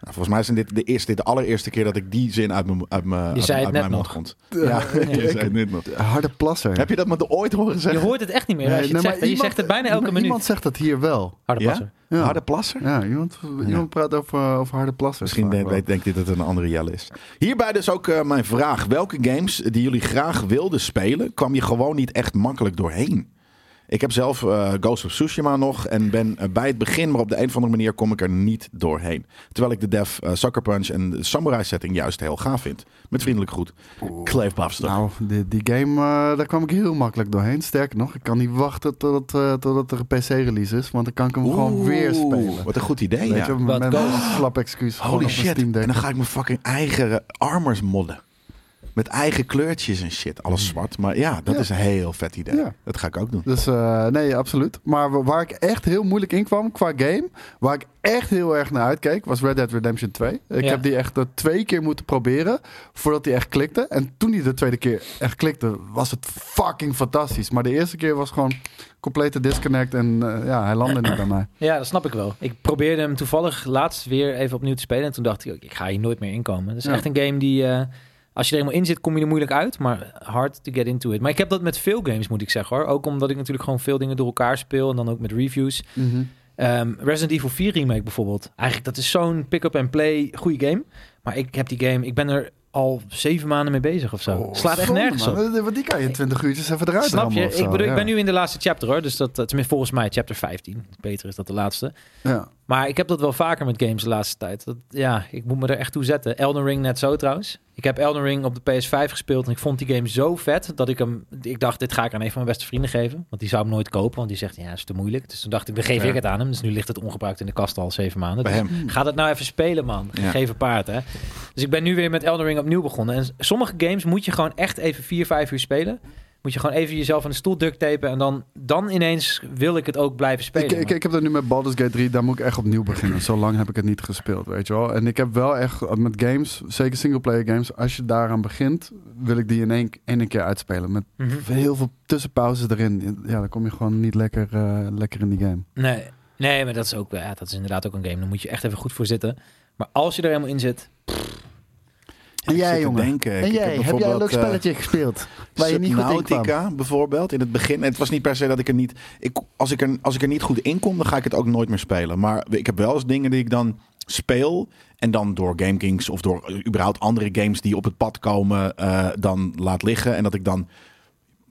Nou, volgens mij is dit de, eerste, dit de allereerste keer dat ik die zin uit mijn, uit mijn, uit,
zei het
uit
net
mijn mond
nog.
vond.
Ja,
Je zei het net nog.
Harde plasser.
Heb je dat me ooit horen
Je
zeggen?
hoort het echt niet meer
Nee,
als je het
nee, maar
zegt. En je
iemand-
zegt het bijna elke
maar
minuut.
Iemand zegt dat hier wel.
Harde
Ja?
passer.
Ja,
Harde plasser?
ja iemand, iemand praat over, eh, over harde plassers.
Misschien
vaak
de-
wel.
weet- denkt hij dat het een andere Jelle is. Hierbij dus ook eh, mijn vraag. Welke games die jullie graag wilden spelen, kwam je gewoon niet echt makkelijk doorheen? Ik heb zelf eh, Ghost of Tsushima nog en ben eh, bij het begin, maar op de een of andere manier kom ik er niet doorheen. Terwijl ik de Def, eh, Sucker Punch en de Samurai setting juist heel gaaf vind. Met vriendelijk goed. Clive Bafster.
Nou, die, die game, eh, daar kwam ik heel makkelijk doorheen. Sterker nog, ik kan niet wachten totdat, eh, totdat er een PC-release is. Want dan kan ik hem gewoon
Oeh,
weer spelen.
Wat een goed idee.
Weet
ja.
je, op het
Wat
moment
kan-
een slap excuus. gewoon op
Holy
mijn
shit. En
Steam Deck.
dan ga ik mijn fucking eigen eh, armors modden. Met eigen kleurtjes en shit. Alles zwart. Maar ja, dat
Hmm. Ja.
is een heel vet idee.
Ja.
Dat ga ik ook doen.
Dus eh, nee, absoluut. Maar wa- waar ik echt heel moeilijk in kwam qua game, waar ik echt heel erg naar uitkeek, was Red Dead Redemption 2. Ik
Ja.
heb die echt eh, twee keer moeten proberen voordat die echt klikte. En toen die de tweede keer echt klikte, was het fucking fantastisch. Maar de eerste keer was gewoon complete disconnect en eh, ja, hij landde niet bij mij.
Ja, dat snap ik wel. Ik probeerde hem toevallig laatst weer even opnieuw te spelen. En toen dacht ik, ook, ik ga hier nooit meer inkomen. Het is
Ja.
echt een game die, eh, als je er eenmaal in zit, kom je er moeilijk uit. Maar hard to get into it. Maar ik heb dat met veel games, moet ik zeggen hoor. Ook omdat ik natuurlijk gewoon veel dingen door elkaar speel. En dan ook met reviews.
Mhm.
Ehm, Resident Evil 4 Remake bijvoorbeeld. Eigenlijk, dat is zo'n pick-up-and-play goede game. Maar ik heb die game, ik ben er al zeven maanden mee bezig of zo.
Oh,
Slaat echt
zonde,
nergens op.
man. Eh, Want die kan je in 20 uurtjes even eruit
Snap
rammen
je?
of zo,
Ik, bedoel, ik
ja.
ben nu in de laatste chapter hoor. Dus dat, eh, tenminste volgens mij chapter 15. Beter is dat de laatste.
Ja.
Maar ik heb dat wel vaker met games de laatste tijd. Dat, ja, ik moet me er echt toe zetten. Elden Ring net zo trouwens. Ik heb Elden Ring op de PS5 gespeeld en ik vond die game zo vet dat ik hem... Ik dacht, dit ga ik aan een van mijn beste vrienden geven. Want die zou hem nooit kopen, want die zegt, ja, is te moeilijk. Dus toen dacht ik, dan geef
Ja.
ik het aan hem. Dus nu ligt het ongebruikt in de kast al zeven maanden.
Bij
Dus
hem.
Ga dat nou even spelen, man.
Ja.
Gegeven paard, hè. Dus ik ben nu weer met Elden Ring opnieuw begonnen. En sommige games moet je gewoon echt even vier, vijf uur spelen. Moet je gewoon even jezelf aan de stoel duct tapen. En dan, dan ineens wil ik het ook blijven spelen.
Ik, ik, ik heb dat nu met Baldur's Gate 3, daar moet ik echt opnieuw beginnen. Zo lang heb ik het niet gespeeld, weet je wel. En ik heb wel echt eh, met games, zeker singleplayer games, als je daaraan begint, wil ik die in één, in één keer uitspelen. Met
Mhm.
heel veel tussenpauzes erin. Ja, dan kom je gewoon niet lekker, eh, lekker in die game.
Nee, nee, maar dat is ook ja, dat is inderdaad ook een game. Dan moet je echt even goed voor zitten. Maar als je er helemaal in zit,
En jij, jongen?
Denken. Ik- ik bijvoorbeeld, eh,
gespeeld?
Subnautica bijvoorbeeld in het begin. En het was niet per se dat ik er niet. Ik, als, ik er, als ik er niet goed in kom, dan ga ik het ook nooit meer spelen. Maar ik heb wel eens dingen die ik dan speel. En dan door GameKings of door eh, überhaupt andere games die op het pad komen, eh, dan laat liggen. En dat ik dan,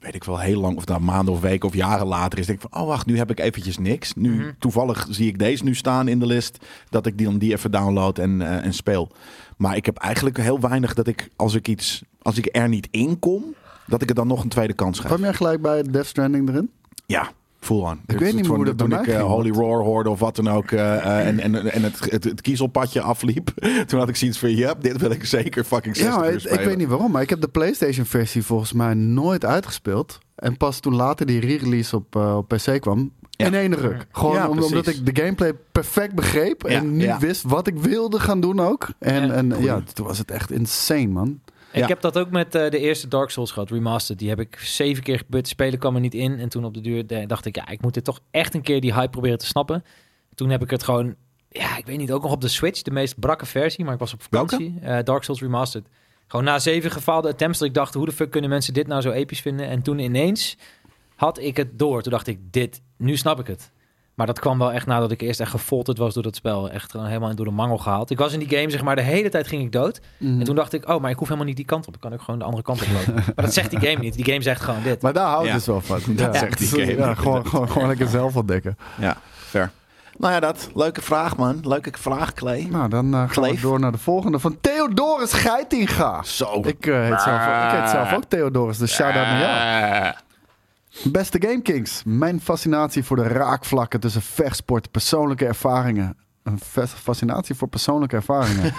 weet ik wel, heel lang of dan maanden of weken of jaren later is. Denk ik van, oh wacht, nu heb ik eventjes niks. Nu
Mhm.
toevallig zie ik deze nu staan in de list. Dat ik die dan die even download en, eh, en speel. Maar ik heb eigenlijk heel weinig dat ik als ik iets, als ik er niet in kom, dat ik het dan nog een tweede kans geef.
Kwam jij gelijk bij Death Stranding erin?
Ja, full on.
weet niet
toen,
hoe dat
Toen
bij
ik
mij
eh,
ging,
Holy
want-
Roar hoorde of wat dan ook eh, eh, en, en, en het, het, het kiezelpadje afliep, toen had ik zoiets van, yep, dit wil ik zeker fucking 60
Ja, maar
uur
ik, ik
spelen.
weet niet waarom, maar ik heb de PlayStation versie volgens mij nooit uitgespeeld. En pas toen later die re-release op, eh, op PC kwam,
Ja.
in één ruk. Gewoon
Ja,
om- omdat
precies.
ik de gameplay perfect begreep
Ja,
en niet
ja.
wist wat ik wilde gaan doen ook. En
Ja.
ja, en,
Goeie.
ja toen was het echt insane, man.
Ja.
ik heb dat ook met eh, de eerste Dark Souls gehad, remastered. Die heb ik zeven keer gebeurd, spelen kwam er niet in. En toen op de duur eh, dacht ik, ja, ik moet dit toch echt een keer die hype proberen te snappen. Toen heb ik het gewoon, ja, ik weet niet, ook nog op de Switch, de meest brakke versie. Maar ik was op vakantie, Eh, Dark Souls remastered. Gewoon na zeven gefaalde attempts dat ik dacht, hoe de fuck kunnen mensen dit nou zo episch vinden? En toen ineens had ik het door. Toen dacht ik, dit, nu snap ik het. Maar dat kwam wel echt nadat ik eerst echt gefolterd was door dat spel. Echt gewoon helemaal door de mangel gehaald. Ik was in die game, zeg maar, de hele tijd ging ik dood.
Mhm.
En toen dacht ik, oh, maar ik hoef helemaal niet die kant op. Ik kan ook gewoon de andere kant op lopen. maar dat zegt die game niet. Die game zegt gewoon dit.
Maar daar houdt
Ja.
het dus wel van.
Dat zegt die game.
Ja, gewoon, gewoon, gewoon lekker zelf ontdekken.
Ja, fair. Nou ja, dat. Leuke vraag, man. Leuke vraag, Clay.
Nou, dan eh, gaan
Kleef.
we door naar de volgende van Theodorus Geitinga.
Zo.
Ik, eh, heet zelf, ik heet zelf ook Theodorus, dus shout-out naar jou.
Ah.
Beste GameKings, mijn fascinatie voor de raakvlakken tussen vechtsport, persoonlijke ervaringen. Een ves- fascinatie voor persoonlijke ervaringen.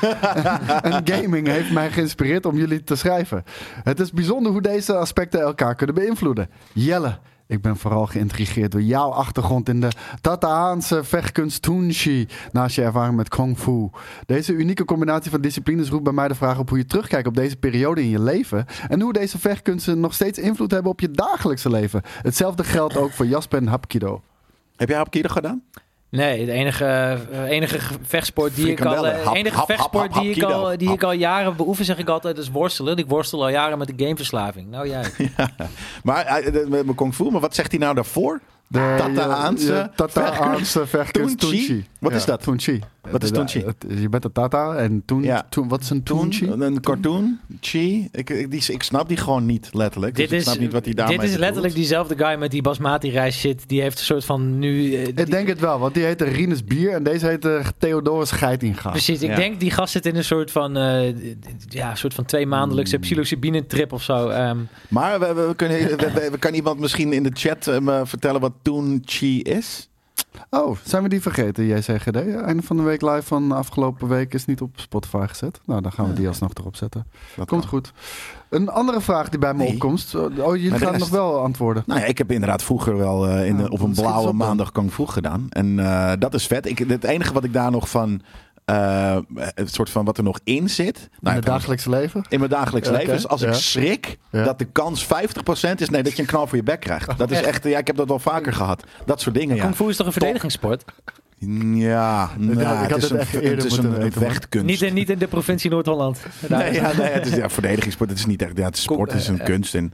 en gaming heeft mij geïnspireerd om jullie te schrijven. Het is bijzonder hoe deze aspecten elkaar kunnen beïnvloeden. Jelle, ik ben vooral geïntrigeerd door jouw achtergrond in de Tataanse vechtkunst Tunchi. Naast je ervaring met Kung Fu. Deze unieke combinatie van disciplines roept bij mij de vraag op hoe je terugkijkt op deze periode in je leven. En hoe deze vechtkunsten nog steeds invloed hebben op je dagelijkse leven. Hetzelfde geldt ook voor Jasper en Hapkido.
Heb jij Hapkido gedaan?
Nee, de enige, eh, enige ge- vechtsport die ik al,
Frikandellen.
eh,
Hap,
enige
hap, hap,
vechtsport
hap,
die ik
hapkido.
al, die
Hap.
ik al jaren beoefen, zeg ik altijd, is worstelen. Ik worstel al jaren met de gameverslaving. Nou jij.
Maar eh, eh, met mijn kung fu, maar wat zegt hij nou daarvoor?
De-
Tata
je-
Aanse
je Tata
vechters.
Aanse vechters.
Tunchi.
Tunchi.
Wat
Ja,
is dat?
Tunchi.
Wat is
Ja,
Tunchi?
het- Je bent een Tata en toen,
Ja.
toen wat is een Tunchi?
Toen, Oh, een cartoon, chi. Ik, ik, die, ik snap die gewoon niet, letterlijk. Dit dus
Dit
ik
is,
snap niet wat die daarmee
dit is letterlijk diezelfde guy met die basmati-rijst shit. Die heeft een soort van nu... eh, die-
Ik denk het wel, want die heette Rinus Bier en deze heette Theodorus Geitinga.
Precies, ik
Ah, Ja.
denk die gast zit in een soort van, eh, d- d- ja, een soort van twee
Mm.
maandelijkse psilocybine trip of zo. ehm.
Maar we, we, we kunnen, we- we- we- kan iemand misschien in de chat eh, me vertellen wat toen chi is?
Oh, zijn we die vergeten, JCGD? Einde van de week live van afgelopen week is niet op Spotify gezet. Nou, dan gaan we die alsnog erop zetten.
Dat
Komt
kan.
goed. Een andere vraag die bij me
Nee.
opkomt. Oh, jullie
Maar de
gaan
rest-
nog wel antwoorden.
Nou ja, ik heb inderdaad vroeger wel eh, in, de-
Ja,
op een
schiet eens
blauwe
op dan.
maandag kung fu gedaan. En eh, dat is vet. Ik, het enige wat ik daar nog van, eh, het soort van wat er nog in zit.
In
Nou,
het dagelijks leven?
in mijn dagelijks
Oké,
leven is als
ja.
ik schrik
Ja.
dat de kans 50% is nee, dat je een knal voor je bek krijgt. Dat is
echt?
echt, ja, ik heb dat wel vaker gehad. Dat soort dingen, ja.
Kung Fu is toch een verdedigingssport?
Ja, nou,
had
het
het
is een,
echt eerder
het is
moeten
een
weten, man.
vechtkunst.
Niet in, niet in de provincie Noord-Holland. Daar-
Nee, ja, nee, het is ja, verdedigingssport. Het is niet echt. Ja, het is sport het is een kunst. En,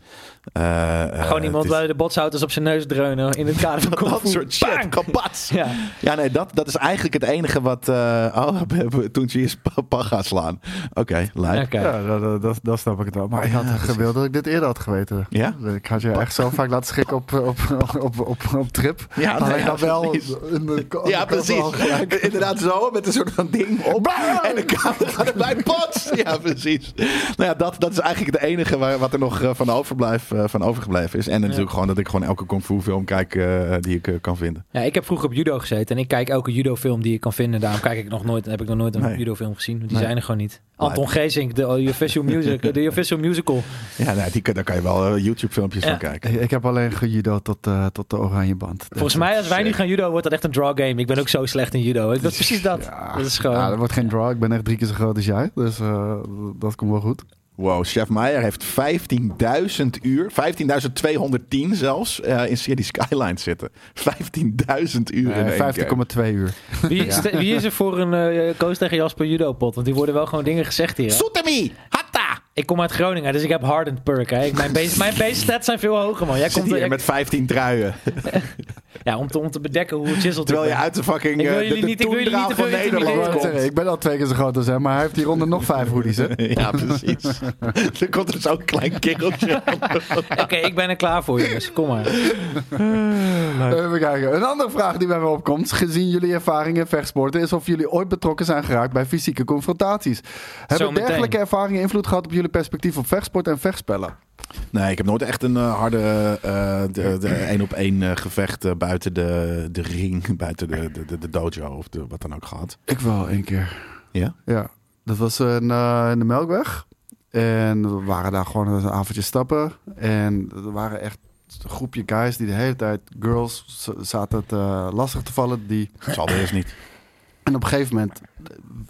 eh, eh,
eh. Gewoon iemand
het is-
bij de botsauto's op zijn neus dreunen in het kader van Kung
Dat
Fu.
soort shit.
Bang!
Kapats. Ja.
Ja.
nee, dat, dat is eigenlijk het enige wat. eh oh, we hebben- toen ze is papa gaan slaan. Oké, lijp.
Oké.
Ja, dat, dat, dat, dat snap ik het wel. Maar ik had gewild dat ik dit eerder had geweten.
Oh,
Dus
Ja?
Ik had je echt zo vaak laten schrikken op, op, op, op, op, op trip.
Ja,
maar
nee,
ik had
ja,
wel
precies.
in de ko-
Ja,
de kop
precies.
al gelijk.
Inderdaad zo, met een soort van ding op. En de kamer gaat erbij pots. Ja, precies. Nou ja, dat, dat is eigenlijk het enige waar, wat er nog eh, van, overblijf, eh, van overgebleven is. En natuurlijk gewoon dat ik gewoon elke kung fu film kijk eh, die ik eh, kan vinden.
Ja, ik heb vroeger op judo gezeten en ik kijk elke judo-film die ik kan vinden. Daarom kijk ik nog nooit, heb ik nog nooit een
Nee.
judo-film gezien. want Die
Nee.
zijn er gewoon niet. Anton Geesink, de official, music, de official musical.
Ja, nou, die, kun- daar kan je wel eh, YouTube filmpjes
Ja.
van kijken.
Ik heb alleen gejudo tot, eh, tot de oranje band. Dus
Volgens mij, als wij nu gaan judo, wordt dat echt een draw game. Ik ben ook zo slecht in judo. Dat is precies dat.
Ja.
Dat is
Ja,
gewoon...
dat wordt geen draw. Ik ben echt drie keer zo groot als jij. Dus eh, dat komt wel goed.
Wow, Chef Meijer heeft 15.000 uur, 15.210 zelfs, eh, in serie Skyline zitten. 15.000 uur in
Eh,
één keer.
15,2 uur.
Wie, is te- wie is er voor een eh Koos tegen Jasper judo-pot? Want die worden wel gewoon dingen gezegd hier. hè?
Soetemi! Hatta!
Ik kom uit Groningen, dus ik heb hardened perk. Hè. Ik- Mijn, base, mijn base stats zijn veel hoger, man. Jij
Zit
komt er-
hier
jij-
met 15 truien.
ja, om, te, om te bedekken hoe chiseled
Terwijl je
ik ben.
uit de fucking
Ik
eh,
wil
de,
jullie
de
niet- ik wil jullie
toendra
niet te
van
veel
Ik,
Nederland
wou
intimideren.
komt.
net zeggen, ik ben al twee keer zo groot als hij, maar hij heeft hieronder nog vijf hoodies. Hè?
Ja, precies. er komt er zo'n klein kereltje.
Oké, ik ben er klaar voor, jongens. Kom maar.
Even kijken. Een andere vraag die bij me opkomt, gezien jullie ervaringen in vechtsporten, is of jullie ooit betrokken zijn geraakt bij fysieke confrontaties. Hebben
meteen.
dergelijke ervaringen invloed gehad op jullie perspectief op vechtsport en vechtspellen?
Nee, ik heb nooit echt een eh, harde eh, de- de één-op-één eh, gevecht eh, buiten de, de ring, buiten de, de, de, de dojo of de, wat dan ook gehad.
Ik wel, één keer.
Ja?
Ja, dat was in, eh, in de Melkweg. En we waren daar gewoon een avondje stappen. En er waren echt een groepje guys die de hele tijd, girls, z- zaten het eh, lastig te vallen. Die
Dat zal er eerst niet.
En op een gegeven moment,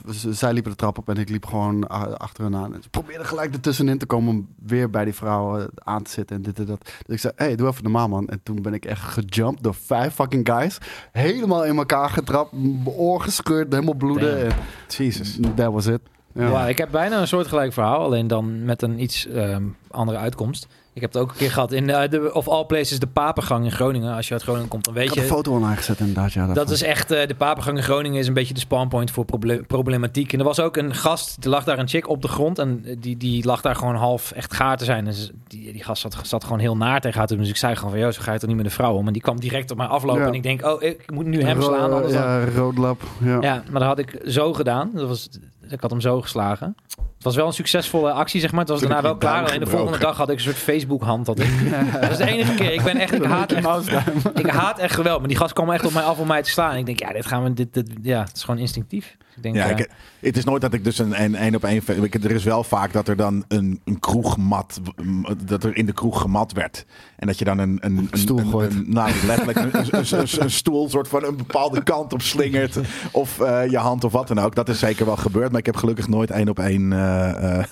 eh, ze- zij liepen de trap op en ik liep gewoon a- achter hen aan. En ze probeerden gelijk ertussenin te komen om weer bij die vrouwen aan te zitten en dit en dat. Dus ik zei, hey, doe even normaal man. En toen ben ik echt gejumpt door vijf fucking guys. Helemaal in elkaar getrapt, m- oor gescheurd, helemaal bloeden. En
Jezus.
that was it. Ja.
Ja, ik heb bijna een soortgelijk verhaal, alleen dan met een iets ehm, andere uitkomst. Ik heb het ook een keer gehad in eh, de, of all places, de Papengang in Groningen. Als je uit Groningen komt, dan
Ik
weet
had een
je...
foto online gezet inderdaad, ja.
Dat is echt, eh, de Papengang in Groningen is een beetje de spawnpoint voor proble- problematiek. En er was ook een gast, er lag daar een chick op de grond en eh, die, die lag daar gewoon half echt gaar te zijn. En ze- die, die gast zat, zat gewoon heel naar tegen haar te doen. Dus ik zei gewoon van, joh, zo ga je toch niet met een vrouw om? En die kwam direct op mij aflopen
Ja.
en ik denk, oh, ik moet nu hem slaan. Anders dan...
Ja, roodlap. Ja.
Ja, maar dat had ik zo gedaan. Dat was, ik had hem zo geslagen. Het was wel een succesvolle actie, zeg maar. Het was
Toen
daarna
heb
wel
je
klaar.
duim
Alleen de
gebroken.
volgende dag had ik een soort Facebook-hand. had ik. Dat is de enige keer. Ik ben echt, ik haat echt, ik haat echt geweld. Maar die gast kwam echt op mij af om mij te slaan. En ik denk, ja, dit gaan we, dit, dit- ja, het is gewoon instinctief. Dus ik denk,
Ja,
ja,
ik, het is nooit dat ik dus een een één op één. ve- ik- Er is wel vaak dat er dan een, een kroegmat. m- Dat er in de kroeg gemat werd. En dat je dan een. een, een
Stoel
een-
gooit.
een- nou, letterlijk een, een, een- een stoel soort van een bepaalde kant op slingert. Of eh, je hand of wat dan ook. Dat is zeker wel gebeurd. Maar ik heb gelukkig nooit één op één eh, eh,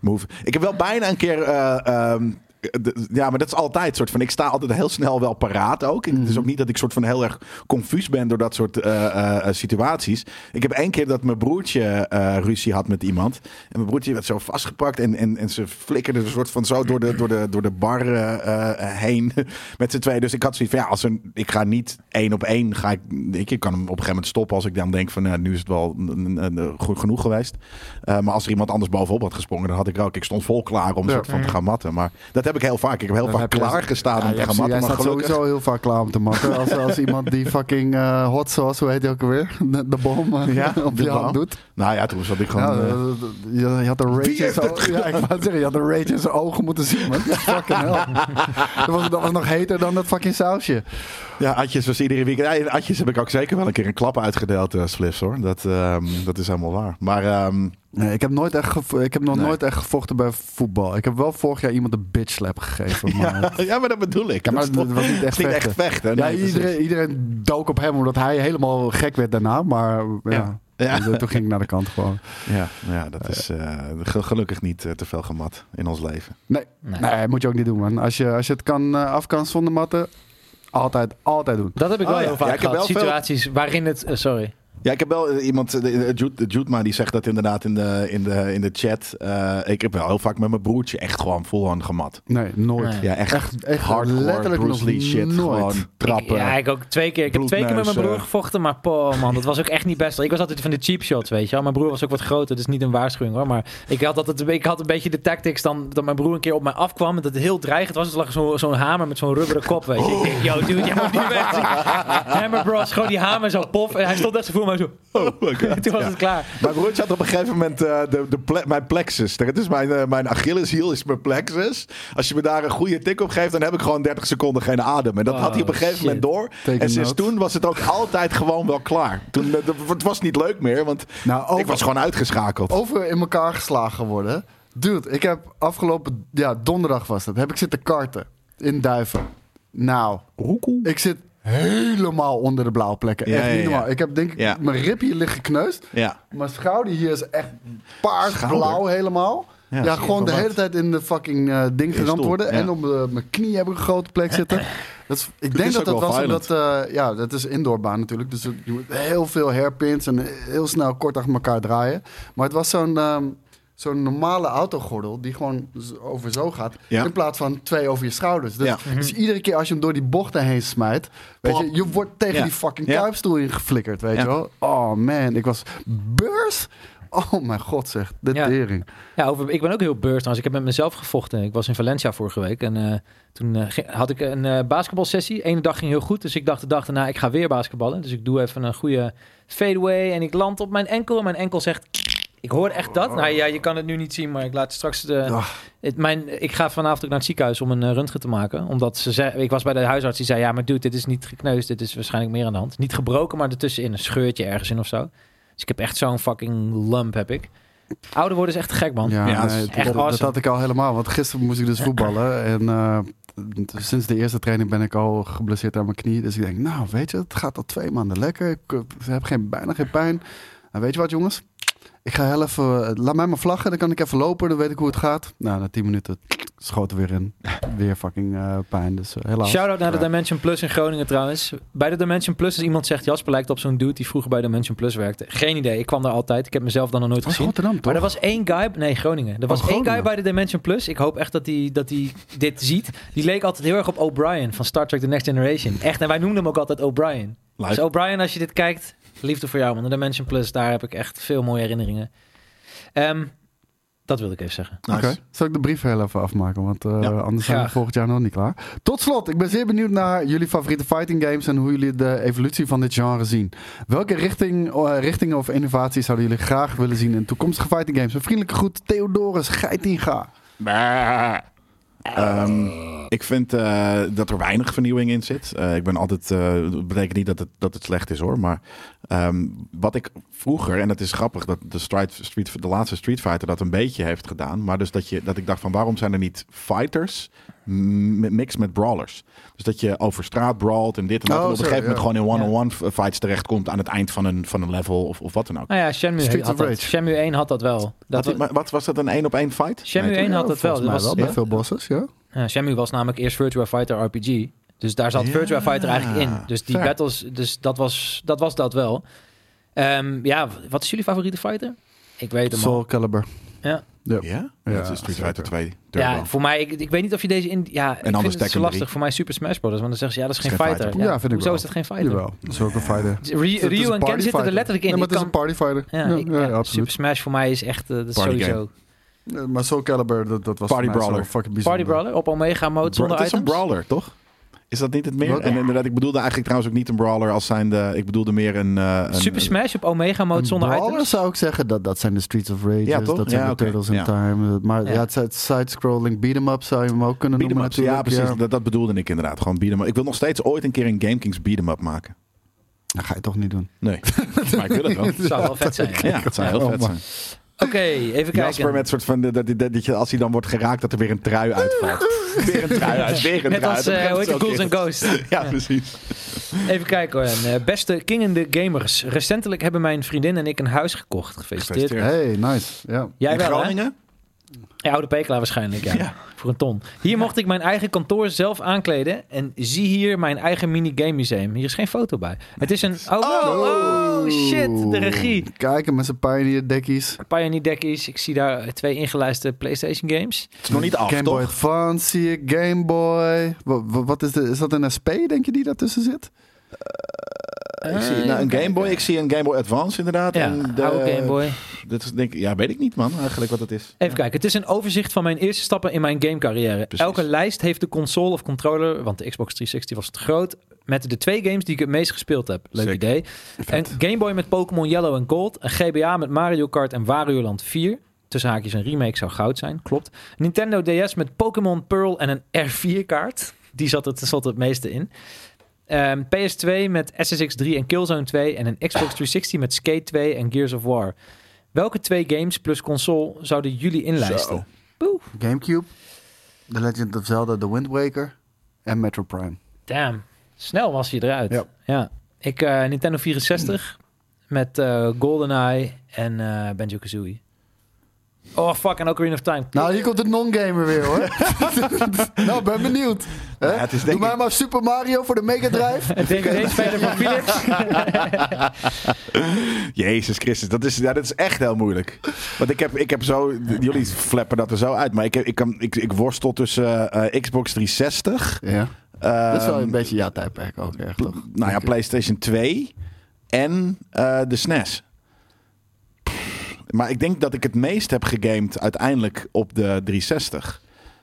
move. Ik heb wel bijna een keer. eh, ehm, de- ja, maar dat is altijd soort van. Ik sta altijd heel snel wel paraat ook. Ik- Het is ook niet dat ik soort van heel erg confuus ben door dat soort eh, eh, eh, situaties. Ik heb één keer dat mijn broertje eh, ruzie had met iemand. En mijn broertje werd zo vastgepakt en, en, en ze flikkerde een soort van zo door de, door de, door de bar eh, eh, heen met z'n tweeën. Dus ik had zoiets van ja, als een, ik ga niet één op één. Ga ik, ik, ik kan hem op een gegeven moment stoppen als ik dan denk van nou, nu is het wel mm, mm, mm, goed genoeg geweest. Eh, maar als er iemand anders bovenop had gesprongen, dan had ik ook. Ik stond vol klaar om een
Ja.
soort van te gaan matten. Maar dat heb ik heel vaak. Ik heb heel
Dan
vaak
heb je-
klaargestaan om
Ja,
te gaan
precies.
matten.
Jij
Maar
staat
gelukkig.
sowieso heel vaak klaar om te matten. Als, als iemand die fucking eh, hot sauce, hoe heet die ook alweer? De, de bom eh,
Ja,
op
de
je hand
bom.
doet.
Nou ja, toen zat ik
Ja,
gewoon. eh,
eh, je, je had de rage
heeft
in zijn
het
ogen. Ja, ik wou het zeggen, je had de rage in zijn ogen moeten zien, man. Fucking hell. dat, was, dat was nog heter dan dat fucking sausje.
ja, Atjes was iedere week. Ja, in Atjes heb ik ook zeker wel een keer een klap uitgedeeld, eh Slips hoor. Dat, ehm, dat is helemaal waar. Maar ehm,
Nee, ik heb, nooit echt gevo- ik heb nog
Nee.
nooit echt gevochten bij voetbal. Ik heb wel vorig jaar iemand een bitch slap gegeven. Maar
ja, ja, maar dat bedoel ik.
Ja, maar
dat is toch-
het was niet echt
het is niet
vechten.
echt vechten.
ja,
Nee, precies.
iedereen, iedereen dook op hem omdat hij helemaal gek werd daarna. Maar ja,
Ja. Ja.
Dus, eh, toen ging ik naar de kant gewoon.
Ja, ja, dat is eh, ge- gelukkig niet eh, te veel gemat in ons leven.
Nee,
Nee.
nee. moet je ook niet doen, man. Als je, als je het kan, eh, af kan zonder matten, altijd, altijd doen.
Dat heb ik wel
Oh ja,
heel vaak
ja, ik heb
gehad.
wel veel-
Situaties waarin het... eh, sorry.
Ja, ik heb wel eh, iemand, eh, de- de Jude, de Jude maar die zegt dat inderdaad in de, in de, in de chat. Eh, ik heb wel heel vaak met mijn broertje echt gewoon vol aan gemat.
Nee, nooit.
Nee.
Ja, echt,
Echt, echt
hardcore
letterlijk
Bruce Lee
nog
shit.
nooit.
Gewoon trappen.
Ik, ja, ik ook twee keer. Ik heb twee keer met mijn
Bloedneus,
broer
eh.
gevochten, maar poh, man, dat was ook echt niet best. Ik was altijd van de cheap shots, weet je wel. Mijn broer was ook wat groter, dus niet een waarschuwing hoor. Maar ik had, altijd, ik had een beetje de tactics dan, dat mijn broer een keer op mij afkwam en dat het heel dreigend was. Dus er lag zo- zo'n hamer met zo'n rubberen kop, weet je. Ik denk, yo dude, jij moet niet weg. Hammer bros, gewoon die hamer zo pof. En hij stond echt zo voor mij zo.
Oh my god.
Toen was
Ja.
het klaar.
Mijn broertje had op een gegeven moment eh, de, de ple- mijn plexus. Dat is mijn, eh, mijn Achilleshiel is mijn plexus. Als je me daar een goede tik op geeft, dan heb ik gewoon 30 seconden geen adem. En dat
Oh,
had hij op een gegeven
shit.
moment door.
Ah, Take
en
a
sinds
note.
toen was het ook altijd gewoon wel klaar. Toen, eh, de- het was niet leuk meer, want
Nou, over-
ik was gewoon uitgeschakeld.
Over in elkaar geslagen worden. Dude, ik heb afgelopen ja, donderdag was dat. Heb ik zitten karten in Duiven. Nou, ik zit helemaal onder de blauwe plekken.
Ja,
Echt
ja,
niet
ja.
normaal. Ik heb denk ik
Ja.
mijn rib hier liggen gekneusd.
Ja.
Mijn schouder hier is echt paarsblauw
Schouder?
helemaal.
Ja,
Ja,
zie je
gewoon de
van
hele
wat?
tijd in de fucking eh, ding
stoel,
geramd worden.
ja.
En op eh, mijn knie heb ik een grote plek zitten. Dat is, ik denk
is
dat
ook
dat
wel
was omdat... eh, ja, dat is indoorbaan natuurlijk. Dus je moet heel veel hairpins en heel snel kort achter elkaar draaien. Maar het was zo'n... ehm, Zo'n normale autogordel die gewoon z- over zo gaat.
Ja.
In plaats van twee over je schouders. Dus,
Ja.
dus iedere keer als je hem door die bochten heen smijt. Weet je,
Plop.
je wordt tegen
Ja.
die fucking
Ja.
kuipstoel ingeflikkerd. Weet
Ja.
je wel? Oh man, ik was beurs. Oh mijn god zeg, de
Ja.
tering.
Ja, over, ik ben ook heel beurs trouwens. Ik heb met mezelf gevochten. Ik was in Valencia vorige week en eh, toen eh, ging- had ik een eh, basketbalsessie. Eén dag ging heel goed, dus ik dacht de dag daarna, ik ga weer basketballen. Dus ik doe even een goede fadeaway en ik land op mijn enkel. En mijn enkel zegt, ik hoor echt dat. Nou ja, je kan het nu niet zien, maar ik laat straks de...
Ach.
Het, mijn, ik ga vanavond ook naar het ziekenhuis om een eh, röntgen te maken. Omdat ze zei, ik was bij de huisarts die zei, ja maar dude, dit is niet gekneusd. Dit is waarschijnlijk meer aan de hand. Niet gebroken, maar ertussenin een scheurtje ergens in of zo. Dus ik heb echt zo'n fucking lump, heb ik. Ouder worden is echt gek, man.
Ja,
Ja, dat is
nee,
echt
dat, dat- dat
awesome.
had ik al helemaal. Want gisteren moest ik dus voetballen. En eh, t- sinds de eerste training ben ik al geblesseerd aan mijn knie. Dus ik denk, nou weet je, het gaat al twee maanden lekker. Ik eh, heb geen, bijna geen pijn. En weet je wat jongens? Ik ga heel even, eh, laat mij maar vlaggen. Dan kan ik even lopen, dan weet ik hoe het gaat. Nou, na tien minuten schoten weer in. Weer fucking eh, pijn. Dus eh, helaas.
Shout-out naar de Dimension Plus in Groningen trouwens. Bij de Dimension Plus, als iemand zegt... Jasper lijkt op zo'n dude die vroeger bij Dimension Plus werkte. Geen idee, ik kwam daar altijd. Ik heb mezelf dan nog nooit
Dat is
gezien.
Rotterdam Oh, toch? Oh,
Maar er was één guy... Nee, Groningen. Er was één
Groningen.
guy bij de Dimension Plus. Ik hoop echt dat hij dat die dit ziet. Die leek altijd heel erg op O'Brien van Star Trek The Next Generation. Echt, en wij noemden hem ook altijd O'Brien.
Luid.
Dus O'Brien, als je dit kijkt, liefde voor jou. Man, de Dimension Plus, daar heb ik echt veel mooie herinneringen. Ehm, dat wilde ik even zeggen.
Nice.
Oké, zal ik de brief heel even afmaken, want eh,
Ja,
anders zijn we
graag.
volgend jaar nog niet klaar. Tot slot, ik ben zeer benieuwd naar jullie favoriete fighting games en hoe jullie de evolutie van dit genre zien. Welke richting, eh, richtingen of innovaties zouden jullie graag willen zien in toekomstige fighting games? Een vriendelijke groet, Theodorus Geitinga.
Ehm, ik vind eh, dat er weinig vernieuwing in zit. Eh, ik ben altijd. eh, Dat betekent niet dat het, dat het slecht is hoor. Maar ehm, wat ik vroeger. En het is grappig dat de, Street, Street, de laatste Street Fighter dat een beetje heeft gedaan. Maar dus dat, je, dat ik dacht van waarom zijn er niet fighters. m- mixed met brawlers. Dus dat je over straat brawlt en dit en dat.
Oh,
en op een
zo,
gegeven moment
ja.
gewoon in one-on-one f- fights terechtkomt aan het eind van een, van een level of, of wat dan ook.
Nou ja, Shenmue,
Streets
had
of
dat.
Rage.
Shenmue 1 1 had dat wel. Dat
Had die-
was-
maar wat was dat een één op één fight?
Shenmue
Nee,
1 had dat wel.
Volgens
Dat
mij
was, eh,
wel, bij veel bosses, ja.
Ja, Eh, Shenmue was namelijk eerst Virtua Fighter RPG. Dus daar zat
Ja,
Virtua Fighter eigenlijk in. Dus die
fair.
battles, dus dat was dat, was dat wel. Ehm, ja, wat is jullie favoriete fighter? Ik weet hem al.
Soul Calibur.
Ja?
Ja,
dat is Street Fighter
zeker.
2 Turbo.
Ja, voor mij, ik, ik weet niet of je deze in. Ja, ik
anders
vind het zo
Tekken
lastig
3.
voor mij Super Smash Bros. Want dan zeggen ze ja, dat is geen,
Geen
fighter.
fighter.
Ja, vind ik
Hoezo
wel.
is dat geen fighter?
Jawel, dat is ook een fighter.
Ri- Ryu en Ken zitten er letterlijk in.
Nee, maar
Ik
het is een
kan-
partyfighter.
ja, ik- ja, Super Smash voor mij is echt eh, dat is
Party
sowieso.
Nee, Maar Soul Calibur, dat, dat was
Party
voor mij zo
brawler.
fucking bijzonder.
Party Brawler op Omega mode
Bra-
Oh, zonder
het is een
items.
brawler, toch? Is dat niet het meer?
Wat?
En inderdaad, ik bedoelde eigenlijk trouwens ook niet een brawler als zijnde... Ik bedoelde meer een... eh, een
Super Smash op Omega mode
Een
zonder
brawler
items.
zou ik zeggen, dat, dat zijn de Streets of Rage,
Ja, toch?
dat zijn
Ja,
de
oké.
Turtles in
Ja.
Time. Maar
Ja.
ja, het side- side-scrolling beat-em-up zou je hem ook kunnen
Beat 'em
noemen
ups, ja,
natuurlijk.
precies. Dat, dat bedoelde ik inderdaad. Gewoon beat 'em up. Ik wil nog steeds ooit een keer een GameKings beat 'em up maken.
Dat ga je toch niet doen.
Nee, maar ik wil het wel.
Dat zou wel vet zijn.
Ja, dat zou heel vet zijn.
Oké,
Jasper
even kijken.
met soort van... de- Dat, dat, dat je, als hij dan wordt geraakt, dat er weer een trui uitvalt. weer een trui uit, weer een
Net
trui
als,
uit.
eh,
Dat
hoe heet het,
begint
Ghouls
zo
and
keer.
Ghosts.
Ja, precies.
Even kijken hoor. En, eh, beste King in the Gamers. Recentelijk hebben mijn vriendin en ik een huis gekocht. Gefeliciteerd.
Gefeliciteerd.
Hey, nice. Ja.
Jij
In
wel, hè?
Groningen?
Ja, oude Pekela waarschijnlijk, ja.
Ja.
Voor een ton. Hier mocht ik mijn eigen kantoor zelf aankleden. En zie hier mijn eigen minigame museum. Hier is geen foto bij. Het is een... Oh, wow. oh shit. De regie.
Kijken met zijn Pioneer-dekkies.
Pioneer Deckies. Ik zie daar twee ingelijste PlayStation games.
Het is nog niet af,
Game Boy
toch?
Advance zie ik, Game Boy. Wa- wa- wat is, de, is dat een SP, denk je, die daartussen zit?
Ik zie,
Eh,
nou, een
even
Game Boy,
kijken.
ik zie een Game Boy Advance inderdaad. en de,
Ja, oude Game Boy.
Dit is, denk, ik- ja, weet ik niet man, eigenlijk wat het is.
Even kijken, het is een overzicht van mijn eerste stappen in mijn gamecarrière.
Precies.
Elke lijst heeft de console of controller, want de Xbox 360 was te groot, met de twee games die ik het meest gespeeld heb. Leuk
Zeker.
idee. Een Game Boy met Pokémon Yellow en Gold, een GBA met Mario Kart en Wario Land 4. Tussen haakjes een remake zou goud zijn, klopt. Nintendo DS met Pokémon Pearl en een R4-kaart. Die zat het, zat het meeste in. Ehm, PS2 met SSX 3 en Killzone 2 en een Xbox 360 met Skate 2 en Gears of War. Welke twee games plus console zouden jullie inlijsten?
Zo.
Gamecube, The Legend of Zelda, The Wind Waker en Metro Prime.
Damn. Snel was hij eruit.
Ja.
Ik eh, Nintendo 64 met eh, GoldenEye en eh Banjo-Kazooie. Oh, fuck. En Ocarina of Time.
Nou, hier komt de non-gamer weer, hoor. nou, ben benieuwd. Hè?
Ja, het is denk
Doe mij
ik-
maar Super Mario voor de Mega Drive.
Een DVD-speler van Philips.
Jezus Christus, dat is, ja, dat is echt heel moeilijk. Want ik heb, ik heb zo, d- jullie flappen dat er zo uit, maar ik, heb, ik, kan, ik, ik worstel tussen eh, eh, Xbox 360.
ja,
ehm,
dat is wel een beetje jouw tijdperk ook, echt, toch?
Nou ja,
Oké.
PlayStation 2 en eh, de SNES. Maar ik denk dat ik het meest heb gegamed uiteindelijk op de 360.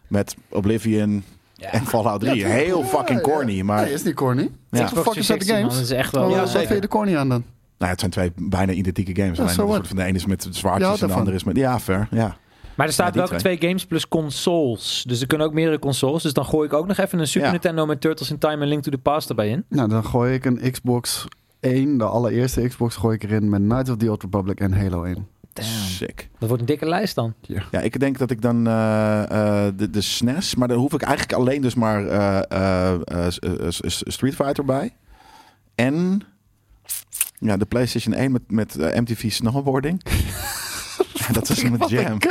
Met Oblivion
Ja.
en Fallout 3.
Ja,
Heel
ja,
fucking
ja.
corny, maar...
Nee, is niet corny.
Ja.
What the fuck is dat de
360, man,
games?
dat is echt wel...
Oh,
ja,
wat
zeker.
vind je de corny aan dan?
Nou, ja, het zijn twee bijna identieke games.
Ja,
Alleen
so
een
what?
soort van de ene is met
Je
zwaardjes
houdt
en de
ervan.
andere is met... Ja, fair. Ja.
Maar er
Ja,
staat
die
welke twee. games plus consoles. Dus er kunnen ook meerdere consoles. Dus dan gooi ik ook nog even een Super
Ja.
Nintendo met Turtles in Time en Link to the Past erbij in.
Nou, dan gooi ik een Xbox 1, de allereerste Xbox, gooi ik erin met Knights of the Old Republic en Halo 1.
Damn.
Sick.
Dat wordt een dikke lijst dan.
Ja, ik denk dat ik dan eh, eh, de, de SNES... Maar daar hoef ik eigenlijk alleen dus maar eh, eh, eh, s- eh, s- s- Street Fighter bij. En ja, de PlayStation 1 met, met eh, MTV Snowboarding. Ja, dat is mijn jam.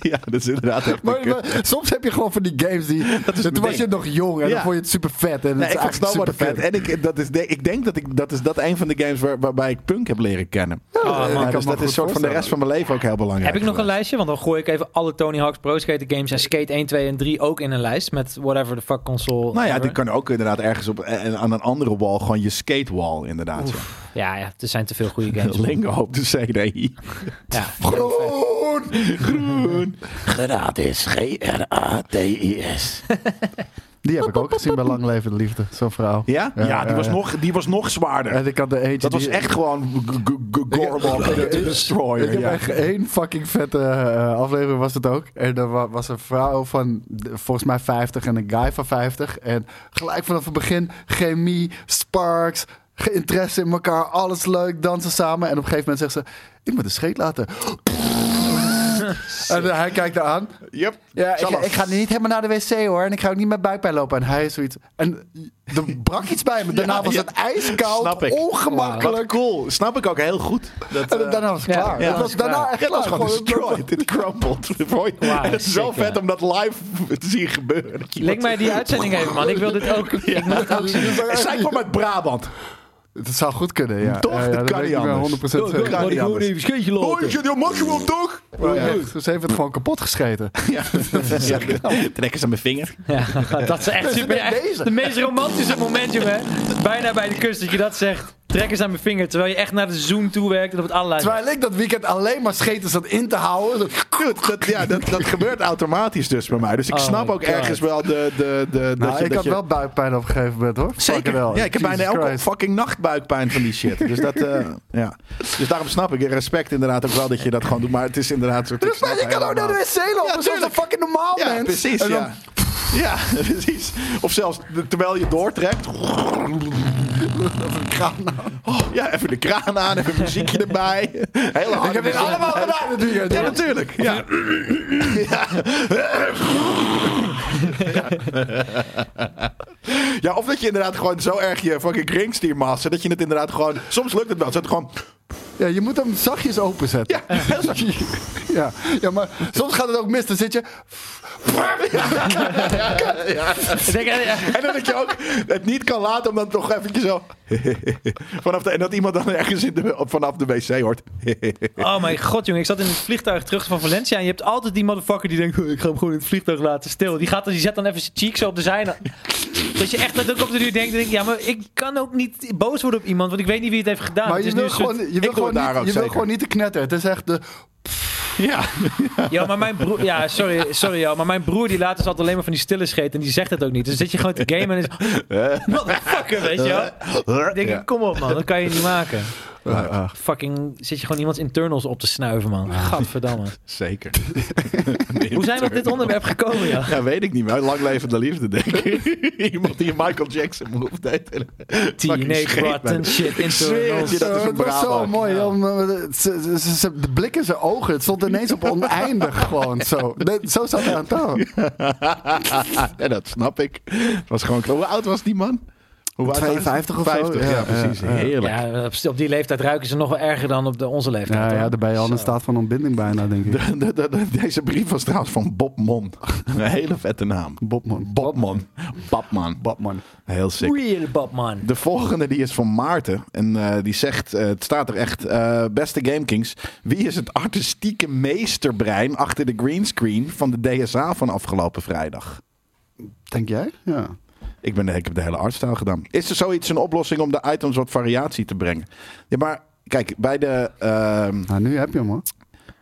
Ja, dat is inderdaad echt een
Maar,
kut.
maar soms heb je gewoon van die games die...
is
toen
mijn
was je
ding.
nog jong en
Ja.
dan vond je het super vet. En
Nee,
het
ik
is
vond
eigenlijk
snowboarden vet.
supervet.
En ik, dat is, ik denk dat ik, dat is dat een van de games waar, waarbij ik punk heb leren kennen.
Oh, man.
Ja,
Ja,
ik Eh, kan
dus
me
dat
goed
is soort van de
voorstellen.
rest van mijn leven ook heel belangrijk.
Heb ik nog een
geweest.
lijstje? Want dan gooi ik even alle Tony Hawk's Pro Skater games en Skate 1, 2 en 3 ook in een lijst. Met whatever the fuck console.
Nou ja,
ever.
die kan ook inderdaad ergens op en aan een andere wall gewoon je skatewall inderdaad. ja.
ja, ja, er zijn te veel goede games.
Lingo op de CD.
Ja.
Groen, groen.
Gratis. G-R-A-T-I-S.
Die heb ik ook gezien bij Lang Leven de Liefde, zo'n vrouw.
Ja? Ja, die,
ja,
was
ja.
Nog, die was nog zwaarder.
En ik had de eentje
Dat was
die-
echt gewoon g- g- g- Gorbal
Ik- ik-
to
Ik
Destroyer.
heb
Ja.
echt één fucking vette eh, aflevering was het ook. En er wa- was een vrouw van de- volgens mij 50 en een guy van 50. En gelijk vanaf het begin chemie, sparks, ge- interesse in elkaar, alles leuk, dansen samen. En op een gegeven moment zegt ze, ik moet een scheet laten. En eh, hij kijkt er aan.
Yep.
Ja, ik,
Zelfs.
ik ga nu niet helemaal naar de wc hoor. En ik ga ook niet met buikpijn lopen. En hij is zoiets. En er brak iets bij me. Daarna
Ja,
was
ja.
het ijskoud,
Snap ik.
ongemakkelijk.
Wat cool. Snap ik ook heel goed. Dat,
En
eh,
daarna was het
Ja.
klaar.
Ja.
Het was daarna echt
Het was
klaar.
gewoon destroyed. It crumbled. Roy.
Wauw,
het is zo
sick,
vet
ja.
om dat live te zien gebeuren. Dat je-
Link mij die uitzending even, man. Ik wil dit ook. Ik moet het ook zien.
Zij kwam uit Brabant.
Het zou goed kunnen, ja.
Toch?
Ja, ja,
Dat kan
weet
niet
ik wel
anders.
100% zeker.
kan niet anders.
scheetje
Oh, je zit heel maximaal toch?
Maar Oh, ja, Ze heeft het gewoon kapot gescheten.
Ja, dat is echt- trekken ze aan mijn vinger.
Ja, dat is echt super.
net
echt
deze.
De meest romantische moment, jongen. Bijna bij de kust dat je dat zegt. Trek eens aan mijn vinger, terwijl je echt naar de zoom toe werkt en op het allerlaatste.
Terwijl ik dat weekend alleen maar scheten zat in te houden. Zo-
Goed, dat, ja, dat, dat gebeurt automatisch dus bij mij. Dus ik
Oh
snap
my
ook
God.
ergens wel de... de, de dat
Nou,
je-
ik
dat
had
je-
wel buikpijn op een gegeven moment hoor.
Zeker.
Fucking hell.
Ja, ik heb
Jesus
bijna elke
Christ.
fucking nachtbuikpijn van die shit. Dus, dat, eh, ja. dus daarom snap ik. Respect inderdaad ook wel dat je dat gewoon doet. Maar het is inderdaad... Zo,
Dus maar je kan ook naar de wc
Ja,
lopen. dat is
tuurlijk.
toch fucking normaal,
Ja,
mens?
precies.
En dan-
ja. ja, precies. Of zelfs de- terwijl je doortrekt. Oh, ja, even de kraan aan, even muziekje erbij. Hele harde
Ik heb dit
muziek.
allemaal gedaan dit weekend.
Ja,
hoor.
natuurlijk. Ja. ja, of dat je inderdaad gewoon zo erg je fucking ringstier massa, dat je het inderdaad gewoon... Soms lukt het wel. Zet het gewoon...
Ja, je moet hem zachtjes openzetten.
Ja, heel zacht.
Ja. ja, maar soms gaat het ook mis. Dan zit je...
Ik denk, eh, eh,
En dan dat je ook het niet kan laten om dan toch eventjes zo... vanaf de, en dat iemand dan ergens in de, vanaf de wc hoort.
Oh mijn god, jongen. Ik zat in het vliegtuig terug van Valencia. En je hebt altijd die motherfucker die denkt... "Oh, Ik ga hem gewoon in het vliegtuig laten stil. Die, gaat, dan- die zet dan even zijn cheek zo op de zijne. Dat je echt dat ook op de duur denkt... denk ik, ja, maar ik kan ook niet boos worden op iemand. Want ik weet niet wie het heeft gedaan.
Maar
Het
je
is nu
wil
een soort-
gewoon, je
doe
wil
het
gewoon,
daar ook
niet, je wil
zeker.
gewoon niet te knetteren. Het is echt de...
ja.
Ja, maar mijn broer... Ja, sorry, sorry joh, Maar mijn broer die laat dus altijd alleen maar van die stille scheet. En die zegt het ook niet. Dus dan zit je gewoon te gamen en is... Motherfucker, weet je wel. Dan denk ik, kom op man. Dat kan je niet maken.
Ah, ah.
Fucking zit je gewoon iemands internals op te snuiven, man. Gadverdamme.
Zeker.
Hoe zijn we op dit onderwerp gekomen, ja?
Ja, weet ik niet meer. Lang leven de liefde, denk ik. Iemand die een Michael Jackson move deed. Fucking
Teenage
scheet, man.
rotten shit
Ik zweer het
internals.
je, dat is
Eh,
een
het was zo
Brabant.
mooi. om, eh, ze- ze- ze- ze- de blik in zijn ogen. Het stond ineens op oneindig gewoon zo. Net- zo zat hij aan tafel.
en dat snap ik. Het was gewoon... Hoe oud was die man? Hoe oud was hij?
52 of zo?
50, ja,
Ja,
precies.
ja, ja.
Heerlijk.
Ja, op, op die leeftijd ruiken ze nog wel erger dan op de, onze leeftijd.
Ja,
hoor.
ja, daar ben je al in
Zo.
staat van ontbinding bijna, denk ik.
De- de- de- de- deze brief was trouwens van Bob Mon. Een hele vette naam.
Bobman.
Bob Mon. Babman.
Batman.
Heel sick.
Real Batman.
De volgende die is van Maarten. En eh, die zegt, eh, het staat er echt, eh, beste GameKings. Wie is het artistieke meesterbrein achter de greenscreen van de DSA van afgelopen vrijdag?
Denk jij? Ja.
Ik, ben, ik heb de hele artstijl gedaan. Is er zoiets een oplossing om de items wat variatie te brengen? Ja, maar kijk, bij de... ehm,
Nou, nu heb je hem hoor.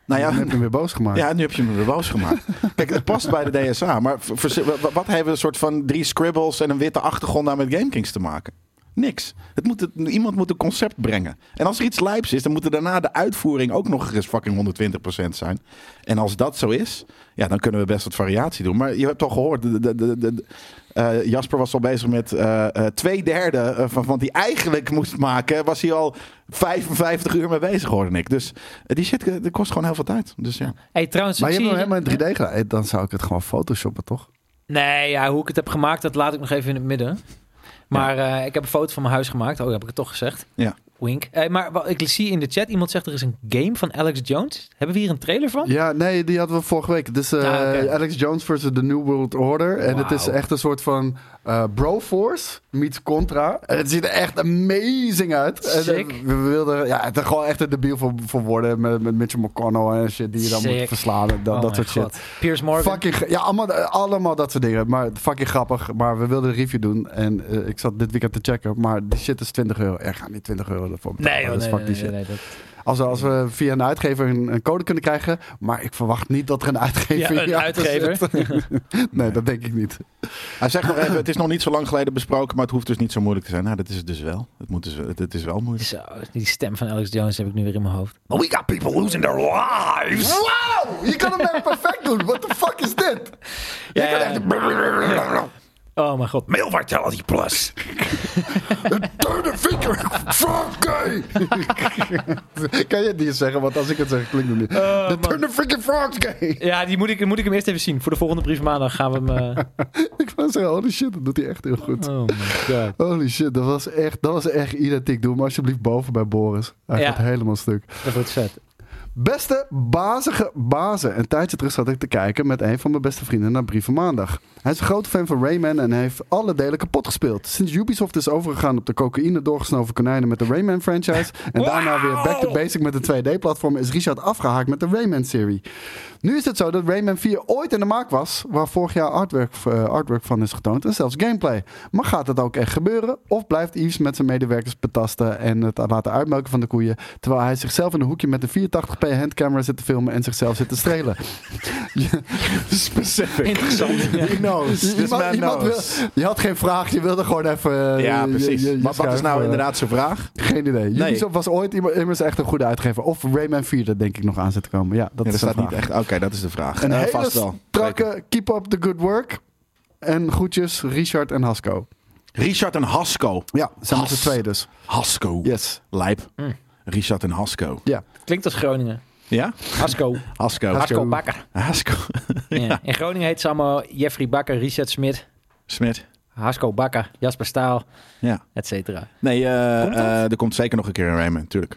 nou
Nu
ja,
heb je hem weer boos gemaakt.
Ja, nu heb je me weer boos gemaakt. Kijk, het past bij de DSA. Maar v- vers- wa- wa- wat hebben we een soort van drie scribbles en een witte achtergrond aan met GameKings te maken? Niks. Het moet het, iemand moet een concept brengen. En als er iets lijps is, dan moet er daarna de uitvoering ook nog eens fucking 120% zijn. En als dat zo is, ja, dan kunnen we best wat variatie doen. Maar je hebt al gehoord, de, de, de, de- de- eh, Jasper was al bezig met eh, eh, twee derde eh, van wat hij eigenlijk moest maken. Was hij al 55 uur mee bezig, hoorde ik. Dus eh, die shit eh, dat kost gewoon heel veel tijd. Dus ja.
Hey, trouwens,
Maar
ik
je hebt
zie
hem helemaal in 3D gedaan. Eh, Dan zou ik het gewoon photoshoppen, toch?
Nee, ja, hoe ik het heb gemaakt, dat laat ik nog even in het midden. Maar eh, ik heb een foto van mijn huis gemaakt. Oh, heb ik het toch gezegd?
Ja.
Wink. Eh, maar wa- ik zie in de chat, iemand zegt er is een game van Alex Jones. Hebben we hier een trailer van?
Ja, nee, die hadden we vorige week. Dus eh,
Ah, oké.
Alex Jones versus The New World Order. En het is
Wauw.
echt een soort van eh Broforce meets Contra. En het ziet er echt amazing uit. En, eh,
Sick.
we wilden, ja, het is gewoon echt een debiel voor, voor worden met, met Mitchell McConnell en shit die je dan
Sick.
moet verslaan. En dat,
Oh
dat
mijn
soort shit.
God. Piers Morgan.
Fucking, ge- ja, allemaal, eh, allemaal dat soort dingen. Maar fucking grappig. Maar we wilden een review doen. En eh, ik zat dit weekend te checken. Maar die shit is 20 euro. Er gaan niet 20 euro ervoor betalen.
Nee, joh,
Dus
nee,
fuck
nee,
die
nee,
shit.
nee, dat-
Als, we, als we via een uitgever een, een code kunnen krijgen. Maar ik verwacht niet dat er een
Ja,
uitgever...
een
hierachter
uitgever.
zit. nee, dat denk ik niet.
Hij zegt nog even, het is nog niet zo lang geleden besproken, maar het hoeft dus niet zo moeilijk te zijn. Nou, dat is het dus wel. Het, moet dus, het, het is wel moeilijk.
Zo, eh, die stem van Alex Jones heb ik nu weer in mijn hoofd.
We got people losing their lives.
Wauw! Je kan hem echt perfect doen. What the fuck is dit?
Ja, ja, ja. Oh mijn god.
Male Vitality Plus.
Turn the finger from gay! kan je het niet zeggen? Want als ik het zeg, klinkt het niet.
Oh,
De turn the finger from gay!
Ja, die moet ik, moet ik hem eerst even zien. Voor de volgende brief maandag gaan we hem... eh,
ik wou zeggen, holy shit, dat doet hij echt heel goed.
Oh my god.
Holy shit, dat was echt, dat was echt identiek. Doe hem alsjeblieft boven bij Boris. Hij
Ja.
gaat helemaal stuk.
Dat wordt vet.
Beste bazige bazen. Een tijdje terug zat ik te kijken met een van mijn beste vrienden naar Brieven Maandag. Hij is een grote fan van Rayman en heeft alle delen kapot gespeeld. Sinds Ubisoft is overgegaan op de cocaïne doorgesnoven konijnen met de Rayman franchise. En daarna weer back to basic met de 2D-platform is Richard afgehaakt met de Rayman-serie. Nu is het zo dat Rayman 4 ooit in de maak was, waar vorig jaar artwork, eh, artwork van is getoond en zelfs gameplay. Maar gaat dat ook echt gebeuren? Of blijft Yves met zijn medewerkers betasten en het laten uitmelken van de koeien, terwijl hij zichzelf in een hoekje met de 480p handcamera zit te filmen en zichzelf zit te strelen?
Specific.
Interessant. Ja.
He knows. This man knows.
wil- je had geen vraag, je wilde gewoon even... eh,
Ja,
je-
precies.
je- je
maar wat is
schuif,
nou
eh,
inderdaad zijn vraag?
Geen idee.
Nee.
Ubisoft was ooit iemand- immers echt een goede uitgever. Of Rayman 4, dat denk ik nog aan zit te komen. Ja, dat
Ja,
is
dat staat
een
niet
vraag.
echt. Oké, dat is de vraag.
Een
Eh,
hele
vast wel. Zeker.
strakke keep up the good work. En groetjes Richard en Hasco.
Richard en Hasco.
Ja, zijn met z'n
Has.
twee dus.
Hasco.
Yes.
Lijp.
Mm.
Richard en Hasco.
Ja.
Klinkt als Groningen.
Ja?
Hasco.
Hasco.
Hasco Bakker.
Hasco.
Ja. In Groningen heet ze allemaal Jeffrey Bakker, Richard Smit,
Smit.
Hasco Bakker, Jasper Staal,
Ja.
et cetera.
Nee, eh,
Komt dat?
eh, er komt zeker nog een keer een Rayman, natuurlijk.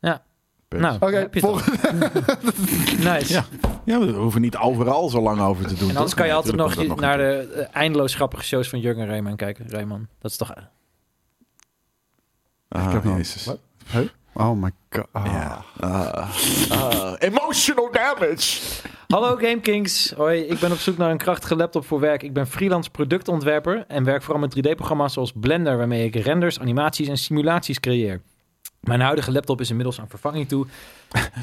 Ja.
Punt.
Nou,
Oké,
heb je het
volgende.
al. Nice.
Ja. Ja, we hoeven niet overal zo lang over te doen.
En anders
toch?
kan je
Nee,
altijd nog,
natuurlijk komt dat
naar de eh, eindeloos grappige shows van Jurgen Rijman kijken. Rijman, dat is toch...
een keer.
Ik heb
Ah,
nog-
Jezus.
Wat? Huh? Oh my god. Ah.
Ja. Ah. Ah. emotional damage.
Hallo GameKings. Hoi, ik ben op zoek naar een krachtige laptop voor werk. Ik ben freelance productontwerper en werk vooral met 3D-programma's zoals Blender, waarmee ik renders, animaties en simulaties creëer. Mijn huidige laptop is inmiddels aan vervanging toe.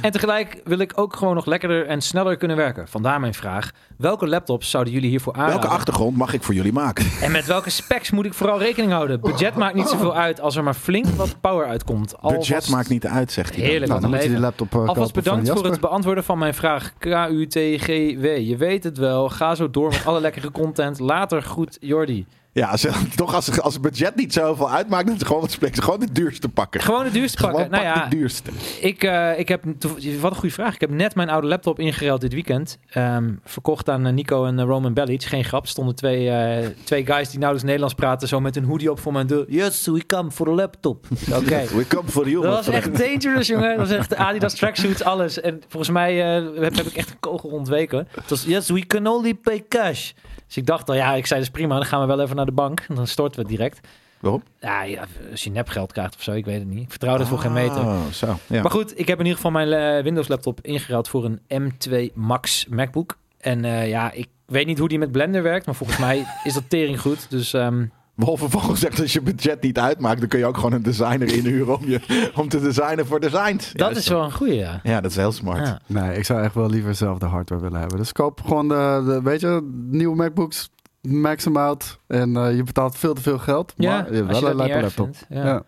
En tegelijk wil ik ook gewoon nog lekkerder en sneller kunnen werken. Vandaar mijn vraag. Welke laptops zouden jullie hiervoor aanraden?
Welke achtergrond mag ik voor jullie maken?
En met welke specs moet ik vooral rekening houden? Budget maakt niet zoveel uit als er maar flink wat power uitkomt. Alvast-
Budget maakt niet uit, zegt hij. dan.
Oh, Heerlijk.
Nou, dan moet je die
leven.
laptop eh, kopen
Alvast
van
bedankt voor
Jasper.
het beantwoorden van mijn vraag. KUTGW. Je weet het wel. Ga zo door met alle lekkere content. Later goed, Jordi.
Ja, als, toch als, als het budget niet zoveel uitmaakt, dan is het gewoon, het is gewoon de duurste pakken.
Gewoon het duurste pakken.
Gewoon
nou
pak
ja,
de duurste.
ik, eh, ik heb. toev- Wat een goede vraag. Ik heb net mijn oude laptop ingeruild dit weekend. Ehm, verkocht aan eh, Nico en eh, Roman Bellic. Geen grap. Stonden twee, eh, twee guys die nauwelijks Nederlands praten. Zo met een hoodie op voor mijn deur. Yes, we come for a laptop. Oké.
We come for you.
Dat
my
was
friend.
echt Oh, dangerous, jongen. Dat was echt Adidas tracksuits, alles. En volgens mij eh, heb, heb ik echt een kogel ontweken. Het was, yes, we can only pay cash. Dus ik dacht al, ja, ik zei dus prima, dan gaan we wel even naar de bank. En dan storten we het direct.
Waarom?
Ja, ja, als je nepgeld krijgt of zo, ik weet het niet. Ik vertrouw dat voor geen meter.
Oh, zo. Ja.
Maar goed, ik heb in ieder geval mijn eh, Windows laptop ingeruild voor een M2 Max MacBook. En eh, ja, ik weet niet hoe die met Blender werkt, maar volgens mij is dat tering goed. Dus ehm,
Wolf vervolgens zegt, als je budget niet uitmaakt, dan kun je ook gewoon een designer inhuren om, je, om te designen voor designs. Ja,
dat is wel Ah. een goeie, ja.
Ja, dat is heel smart.
Ja.
Nee, ik zou echt wel liever zelf de hardware willen hebben. Dus koop gewoon de, de- weet je, nieuwe MacBooks. Max hem out. En eh, je betaalt veel te veel geld.
Ja,
maar je hebt
als je
wel
dat
een lijpe
niet erg
laptop.
vindt, ja.
Ja.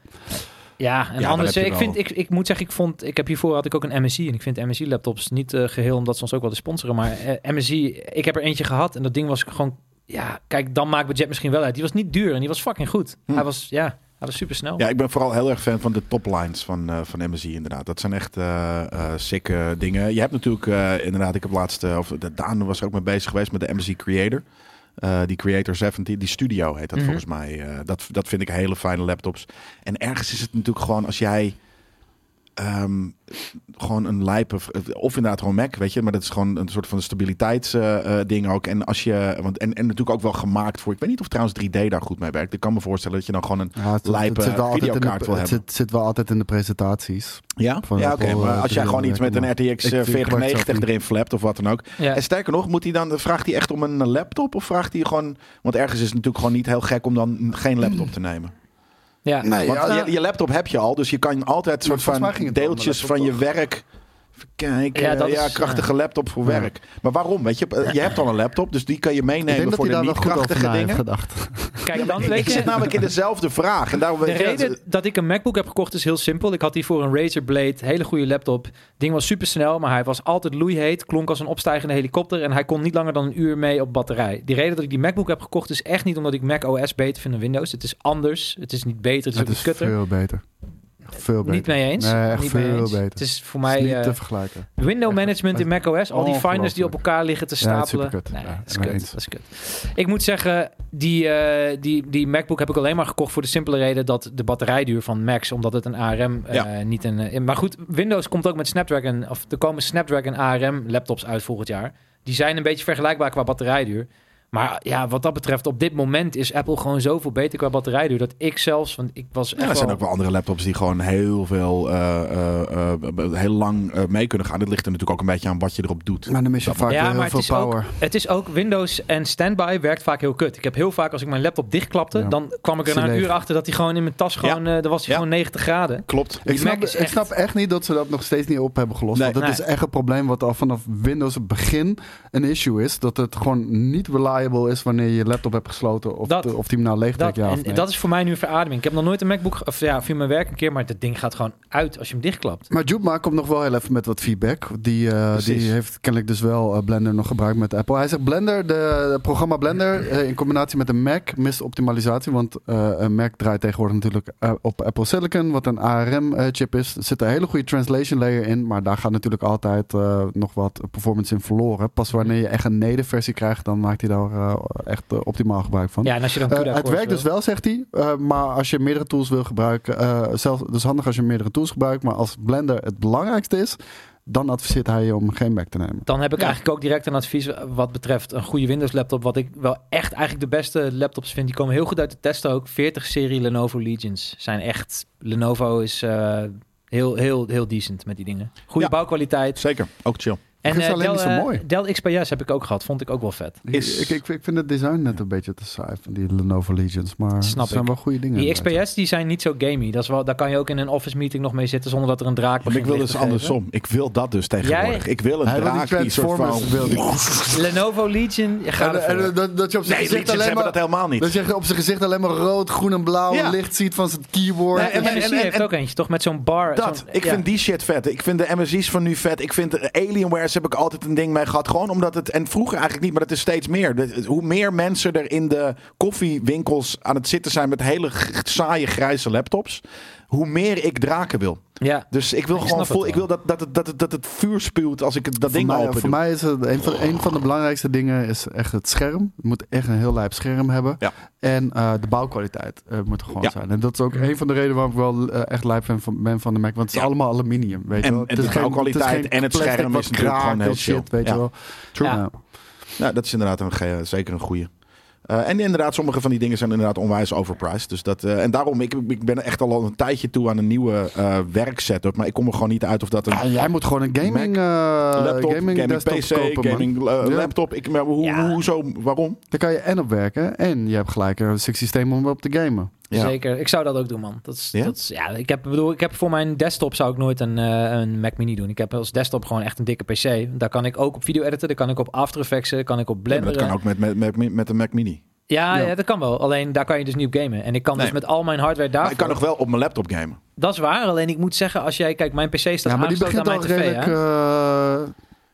Ja, en
Ja, dan
anders. eh,
heb je
Ik,
wel-
vind, ik, ik moet zeggen, ik vond. Ik heb hiervoor had ik ook een MSI. En ik vind MSI laptops niet eh, geheel omdat ze ons ook wel eens sponsoren. Maar eh, MSI, ik heb er eentje gehad. En dat ding was gewoon. Ja, kijk, dan maakt budget misschien wel uit. Die was niet duur en die was fucking goed.
Hm.
Hij was, ja, hij was super snel.
Ja, ik ben vooral heel erg fan van de toplines van, eh van MSI inderdaad. Dat zijn echt eh eh, sikke dingen. Je hebt natuurlijk eh, inderdaad, ik heb laatst, eh, of de Daan was er ook mee bezig geweest met de MSI Creator. Eh, die Creator 17, die Studio heet dat
Mhm.
volgens mij. Eh, dat, dat vind ik hele fijne laptops. En ergens is het natuurlijk gewoon als jij ehm, gewoon een lijpe, of inderdaad gewoon Mac, weet je. Maar dat is gewoon een soort van stabiliteitsding ding ook. En als je, want, en, en natuurlijk ook wel gemaakt voor, ik weet niet of trouwens 3D daar goed mee werkt. Ik kan me voorstellen dat je dan gewoon een
Ja, het,
Lijpe
het zit wel altijd in de,
videokaart wil
het
hebben.
zit, zit wel altijd in de presentaties.
Ja,
Van
ja oké.
Apple,
maar
eh,
als jij gewoon iets met een RTX eh,
Ik- ik gebruik
4090
zelf
erin flapt of wat dan ook.
Ja.
En sterker nog, moet hij dan, vraagt hij echt om een laptop of vraagt hij gewoon... Want ergens is het natuurlijk gewoon niet heel gek om dan geen laptop te nemen.
ja.
Nee,
Want
ja,
je, je laptop heb je al, dus je kan altijd soort
volgens mij
van
ging het om een
deeltjes
laptop,
van je werk... Even Kijken,
Ja,
ja,
dat
ja
is,
krachtige laptop voor
Ja.
werk. Maar waarom? Weet je, eh, je hebt al een laptop, dus die kan je
Ik denk
meenemen
dat
voor
hij
de
daar wel
niet
goed over
krachtige
na heeft
dingen.
gedacht.
kijk, dan
Ik,
weet
zit nou
je...
namelijk in dezelfde vraag. En daarom
De
weet je-
reden dat ik een MacBook heb gekocht is heel simpel. Ik had die voor een Razer Blade, hele goede laptop. Ding was super snel, maar hij was altijd loeiheet, klonk als een opstijgende helikopter en hij kon niet langer dan een uur mee op batterij. Die reden dat ik die MacBook heb gekocht is echt niet omdat ik Mac OS beter vind dan Windows. Het is anders, het is niet beter, het is
Het
ook
is
niet kutter.
veel beter. Echt Veel beter.
Niet mee eens.
Nee, echt
niet mee
veel
eens.
beter.
Het is voor
Het
mij
is niet
eh,
te vergelijken.
window
echt-
management in
het
macOS. Al die finders die op
ongelooflijk.
elkaar liggen te
Ja, het is
stapelen.
superkut.
Nee,
Ja,
dat, is
ben ik
kut,
eens.
dat is kut. Ik moet zeggen, die, eh, die, die MacBook heb ik alleen maar gekocht voor de simpele reden dat de batterijduur van Macs, omdat het een ARM eh,
Ja.
niet een. eh, in- maar goed, Windows komt ook met Snapdragon, of er komen Snapdragon ARM laptops uit volgend jaar. Die zijn een beetje vergelijkbaar qua batterijduur. Maar ja, wat dat betreft, op dit moment is Apple gewoon zoveel beter qua batterijduur dat ik zelfs, want ik was echt
Ja, er
wel-
zijn ook wel andere laptops die gewoon heel veel, eh, eh, eh, heel lang eh, mee kunnen gaan. Dit ligt er natuurlijk ook een beetje aan wat je erop doet.
Maar dan mis je vaak weer
Ja, maar
heel
het
veel
is ook-
power.
Het is ook Windows en standby werkt vaak heel kut. Ik heb heel vaak als ik mijn laptop dichtklapte,
Ja.
dan kwam ik er
Is hij
na een
leeg.
uur achter dat hij gewoon in mijn tas gewoon, eh dan was hij
Ja.
gewoon 90 graden.
Klopt.
Die
Ik snap,
Mac is
ik
echt-
snap echt niet dat ze dat nog steeds niet op hebben gelost.
Nee.
want dat
Nee.
is echt een probleem wat al vanaf Windows het begin een issue is. Dat het gewoon niet reliable is wanneer je je laptop hebt gesloten. Of,
Dat-
de- of die hem nou leeg
Dat,
trekt, ja
en
of nee.
dat is voor mij nu een verademing. Ik heb nog nooit een MacBook, ge- of ja, via mijn werk een keer, maar dat ding gaat gewoon uit als je hem dichtklapt.
Maar Joopma komt nog wel heel even met wat feedback. Die, eh,
Precies.
die heeft kennelijk dus wel eh, Blender nog gebruikt met Apple. Hij zegt Blender, de, het programma Blender eh, in combinatie met een Mac mist optimalisatie. Want eh, een Mac draait tegenwoordig natuurlijk eh, op Apple Silicon, wat een ARM-chip eh, is. Er zit een hele goede translation layer in, maar daar gaat natuurlijk altijd eh, nog wat performance in verloren. Pas wanneer je echt een nederversie krijgt, dan maakt hij daar eh, echt eh, optimaal gebruik van.
Ja, en als je dan CUDA
Eh, het
cores
werkt
wil.
dus wel, zegt hij. eh, maar als je meerdere tools wil gebruiken, eh, zelf, dus handig als je meerdere tools gebruikt. Maar als Blender het belangrijkste is, dan adviseert hij je om geen Mac te nemen.
Dan heb ik eigenlijk ook direct een advies wat betreft een goede Windows laptop. Wat ik wel echt eigenlijk de beste laptops vind. Die komen heel goed uit de testen ook. 40 serie Lenovo Legions zijn echt... Lenovo is eh, heel, heel, heel decent met die dingen. Goede
Ja.
bouwkwaliteit.
Zeker. Ook chill.
En
vind ze
eh,
alleen
Dell,
niet zo
eh,
mooi.
Dell XPS heb ik ook gehad. Vond ik ook wel vet.
Is-
Ik, ik, ik vind het design net een beetje te saai van die Lenovo Legions. Maar
Snap
het zijn
ik.
wel goede dingen.
Die
inderdaad.
XPS die zijn niet zo gamey. Dat is wel, daar kan je ook in een office meeting nog mee zitten zonder dat er een draak
Maar
begint
ik wil
licht
dus
te geven.
andersom. Ik wil dat dus tegenwoordig. Ik wil een
Hij wil die
draak die soort van...
Transformers. wil die.
Lenovo Legion, je gaat
En, en,
ervoor.
dat, dat je op zijn
Nee,
gezicht
Legions
alleen
hebben
maar...
dat helemaal niet.
Dat je op zijn gezicht alleen maar rood, groen en blauw
Ja.
licht ziet van zijn keyboard.
Nee, en-
MSI
en-
heeft
en-
ook eentje, toch? Met zo'n bar.
Dat,
zo'n-
ik
ja.
vind die shit vet. Ik vind de MSI's van nu vet. Ik vind de Alienware's heb ik altijd een ding mee gehad. Gewoon omdat het, en vroeger eigenlijk niet, maar dat is steeds meer. Dat- hoe meer mensen er in de koffiewinkels aan het zitten zijn met hele g- saaie grijze laptops, hoe meer ik draken wil.
Ja.
Dus ik wil
Ik
gewoon
snap het
voel,
wel.
ik wil dat, dat, het- dat, het- dat het vuur spuwt als ik het- dat
Voor
ding
mij,
open
voor
doe.
mij is het een van, een van de belangrijkste dingen is echt het scherm. Het moet echt een heel lijp scherm hebben.
Ja.
En eh, de bouwkwaliteit eh, moet er gewoon
Ja.
zijn. En dat is ook een van de redenen waarom ik wel eh, echt lijp fan van, ben van de Mac. Want het is
Ja.
allemaal aluminium. Weet
En-
je wel.
en de bouwkwaliteit en het
plastic
scherm
wat
is natuurlijk gewoon
kraakt en
heel chill.
shit, weet
Ja.
je wel.
True.
Ja.
Nou, dat is inderdaad een, ge- zeker een goede. en inderdaad, sommige van die dingen zijn inderdaad onwijs overpriced. Dus dat, eh, en daarom, ik, ik ben echt al een tijdje toe aan een nieuwe eh werksetup. Maar ik kom er gewoon niet uit of dat een
Ja, jij moet gewoon een gaming, eh,
laptop, gaming,
gaming, desktop
PC,
kopen, man.
gaming eh,
Ja.
laptop. Ik, maar hoe,
Ja.
hoezo, waarom?
Daar kan je en op werken. En je hebt gelijk een systeem om op te gamen.
Ja.
Zeker, ik zou dat ook doen, man. Dat is,
Ja?
dat is, ja, ik, heb, bedoel, ik heb voor mijn desktop zou ik nooit een, eh, een Mac Mini doen. Ik heb als desktop gewoon echt een dikke PC. Daar kan ik ook op video editen, daar kan ik op After Effects, daar kan ik op
Ja,
Blender.
maar dat kan ook met, met, met, met een Mac Mini.
Ja,
Ja.
ja, dat kan wel. Alleen daar kan je dus niet op gamen. En ik kan
Nee.
dus met al mijn hardware daar.
Maar ik kan nog wel op mijn laptop gamen.
Dat is waar. Alleen ik moet zeggen, als jij kijkt, mijn PC staat
Ja, maar die
aangesloten
begint
aan
al
mijn tv.
redelijk...
hè?
eh,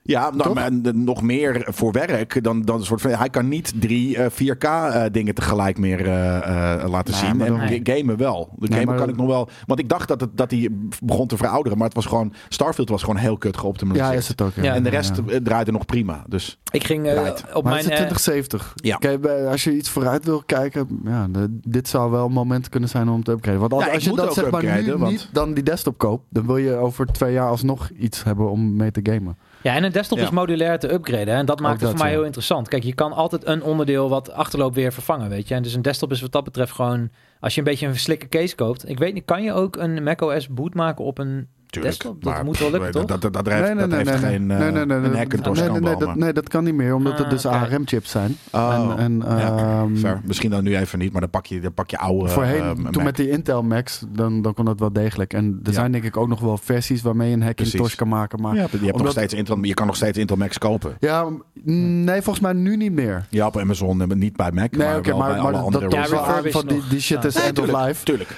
Ja, nou,
Toch?
maar, eh, nog meer voor werk dan, dan een soort van. Hij kan niet drie eh, 4K eh, dingen tegelijk meer eh, eh, laten
Nee,
zien.
maar
En
dan-
ga- gamen wel. De
Nee,
gamen
maar-
kan ik nog wel. Want ik dacht dat, het, dat hij begon te verouderen. Maar het was gewoon. Starfield was gewoon heel kut geoptimaliseerd.
ja, is het ook.
Ja.
En de rest
ja.
eh, draaide nog prima. Dus
Ik ging eh,
Draait.
op
maar
mijn.
het is
eh,
2070.
Ja.
Kijk, bij- als je iets vooruit wil kijken, ja, de- dit zou wel een moment kunnen zijn om te upgraden. Want als,
Ja, ik
als je
moet ook
dat zeg maar nu
upgraden, want-
niet dan die desktop koopt, dan wil je over twee jaar alsnog iets hebben om mee te gamen.
Ja, en een desktop
Ja.
is modulair te upgraden. hè. En dat maakt
Ook
het
dat,
voor mij
ja.
heel interessant. Kijk, je kan altijd een onderdeel wat achterloopt weer vervangen, weet je. En dus een desktop is wat dat betreft gewoon... Als je een beetje een slikke case koopt... Ik weet niet, kan je ook een macOS boot maken op een
natuurlijk.
desktop, dat moet wel lukken, toch?
Dat, dat, dat heeft, dat heeft geen eh, een hackintosh
nee, nee, nee, dat,
kan
nee, dat kan niet meer, omdat
Ah,
het dus
kijk.
ARM-chips zijn.
Oh,
en, en,
ja,
ehm,
Ver. Misschien dan nu even niet, maar dan pak je, dan pak je oude.
Voorheen,
ehm,
toen
Mac.
met die Intel Max, dan, dan kon dat wel degelijk. En
Ja.
er zijn denk ik ook nog wel versies waarmee je een Hackintosh
Precies.
kan maken. Maar
Ja, je hebt nog
omdat-
steeds Intel, je kan nog steeds Intel Max kopen.
Ja, m- nee, volgens mij nu niet meer.
Ja, op Amazon, eh, niet bij Mac,
Nee,
maar
oké,
wel bij
maar, maar
alle
dat
andere.
toont
Ja,
websites.
wel aan
refurbished
van die,
nog.
die shit
Ja.
is
Nee,
end of
tuurlijk,
life.
Tuurlijk.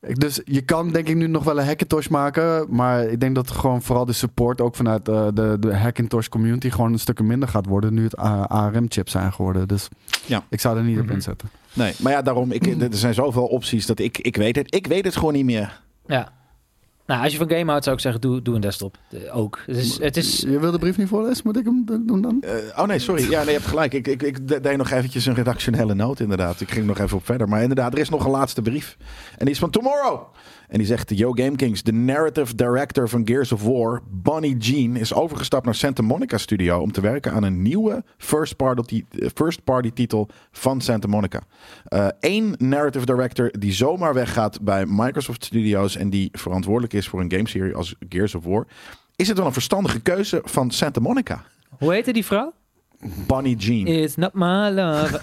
Ik- Dus je kan denk ik nu nog wel een Hackintosh maken. Maar ik denk dat gewoon vooral de support ook vanuit eh, de, de Hackintosh community gewoon een stuk minder gaat worden. Nu het ARM-chips zijn geworden. Dus
Ja.
ik zou er niet op
Mhm.
inzetten.
Nee, maar ja, daarom, ik, er zijn zoveel opties dat ik, ik weet het. Ik weet het gewoon niet meer.
Ja. Nou, als je van game houdt, zou ik zeggen, doe, doe een desktop eh, ook. Het is, het is
Je wil de brief niet voorlezen? Moet ik hem doen dan?
Eh, oh nee, sorry. Ja, nee, je hebt gelijk. Ik, ik, ik de- deed nog eventjes een redactionele noot, inderdaad. Ik ging nog even op verder. Maar inderdaad, er is nog een laatste brief. En die is van Tomorrow. En die zegt, Yo Game Kings, de narrative director van Gears of War, Bonnie Jean, is overgestapt naar Santa Monica Studio om te werken aan een nieuwe first party, first party titel van Santa Monica. Eh, Eén narrative director die zomaar weggaat bij Microsoft Studios en die verantwoordelijk is voor een gameserie als Gears of War. Is het wel een verstandige keuze van Santa Monica?
Hoe heette die vrouw?
Bonnie Jean.
It's not my love.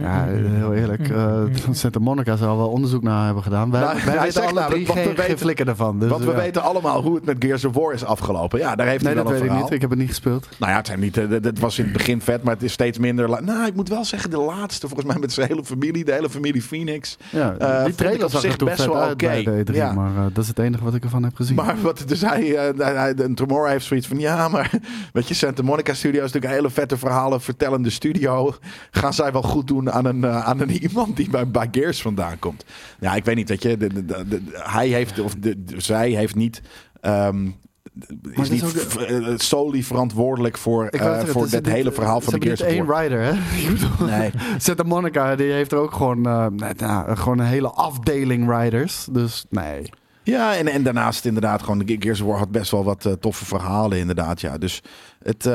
Ja, heel eerlijk. eh, van Santa Monica zou wel onderzoek naar hebben gedaan. Wij,
Mhm. Nou,
wij
hij
weten
zegt
alle
namelijk,
drie
want we
geen, geen
weten-
flikker ervan. Dus,
Want we
ja.
weten allemaal hoe het met Gears of War is afgelopen. Ja, daar heeft
Nee,
hij
dat
wel
weet
een
ik
verhaal.
niet. Ik heb het niet gespeeld.
Nou ja, het, zijn niet, eh, dat- dat was in het begin vet, maar het is steeds minder. la- Nou, ik moet wel zeggen, de laatste volgens mij met zijn hele familie, de hele familie Phoenix.
Ja,
Eh, vond
die
ik
trailer
op
zag
zich
er toen
best
vet
wel
uit
oké.
bij de E3,
Ja.
maar eh, dat is het enige wat ik ervan heb gezien.
Maar wat, dus hij, eh, hij, hij- en Tomorrow heeft zoiets van, ja, maar weet je, Santa Monica Studio is natuurlijk een hele vette verhalen vertellende studio. Gaan zij wel goed doen aan een, eh, aan een iemand die bij, bij Gears vandaan komt? Ja, ik weet niet, weet je, de, de- de- de- hij heeft, of de, de- zij heeft niet... ehm, is
dat is
niet
ook-
v- eh, solely verantwoordelijk voor,
Ik
eh,
wou zeggen,
voor
het is
dit
niet-
hele verhaal van
ze
de Gears
hebben
of
niet
War.
één rider, hè? Ik bedoel,
Nee.
Santa Monica, die heeft er ook gewoon, eh, nou, nou, gewoon een hele afdeling riders. Dus nee.
Ja, en, en daarnaast inderdaad gewoon... de Gears of War had best wel wat eh, toffe verhalen inderdaad, ja. Dus het...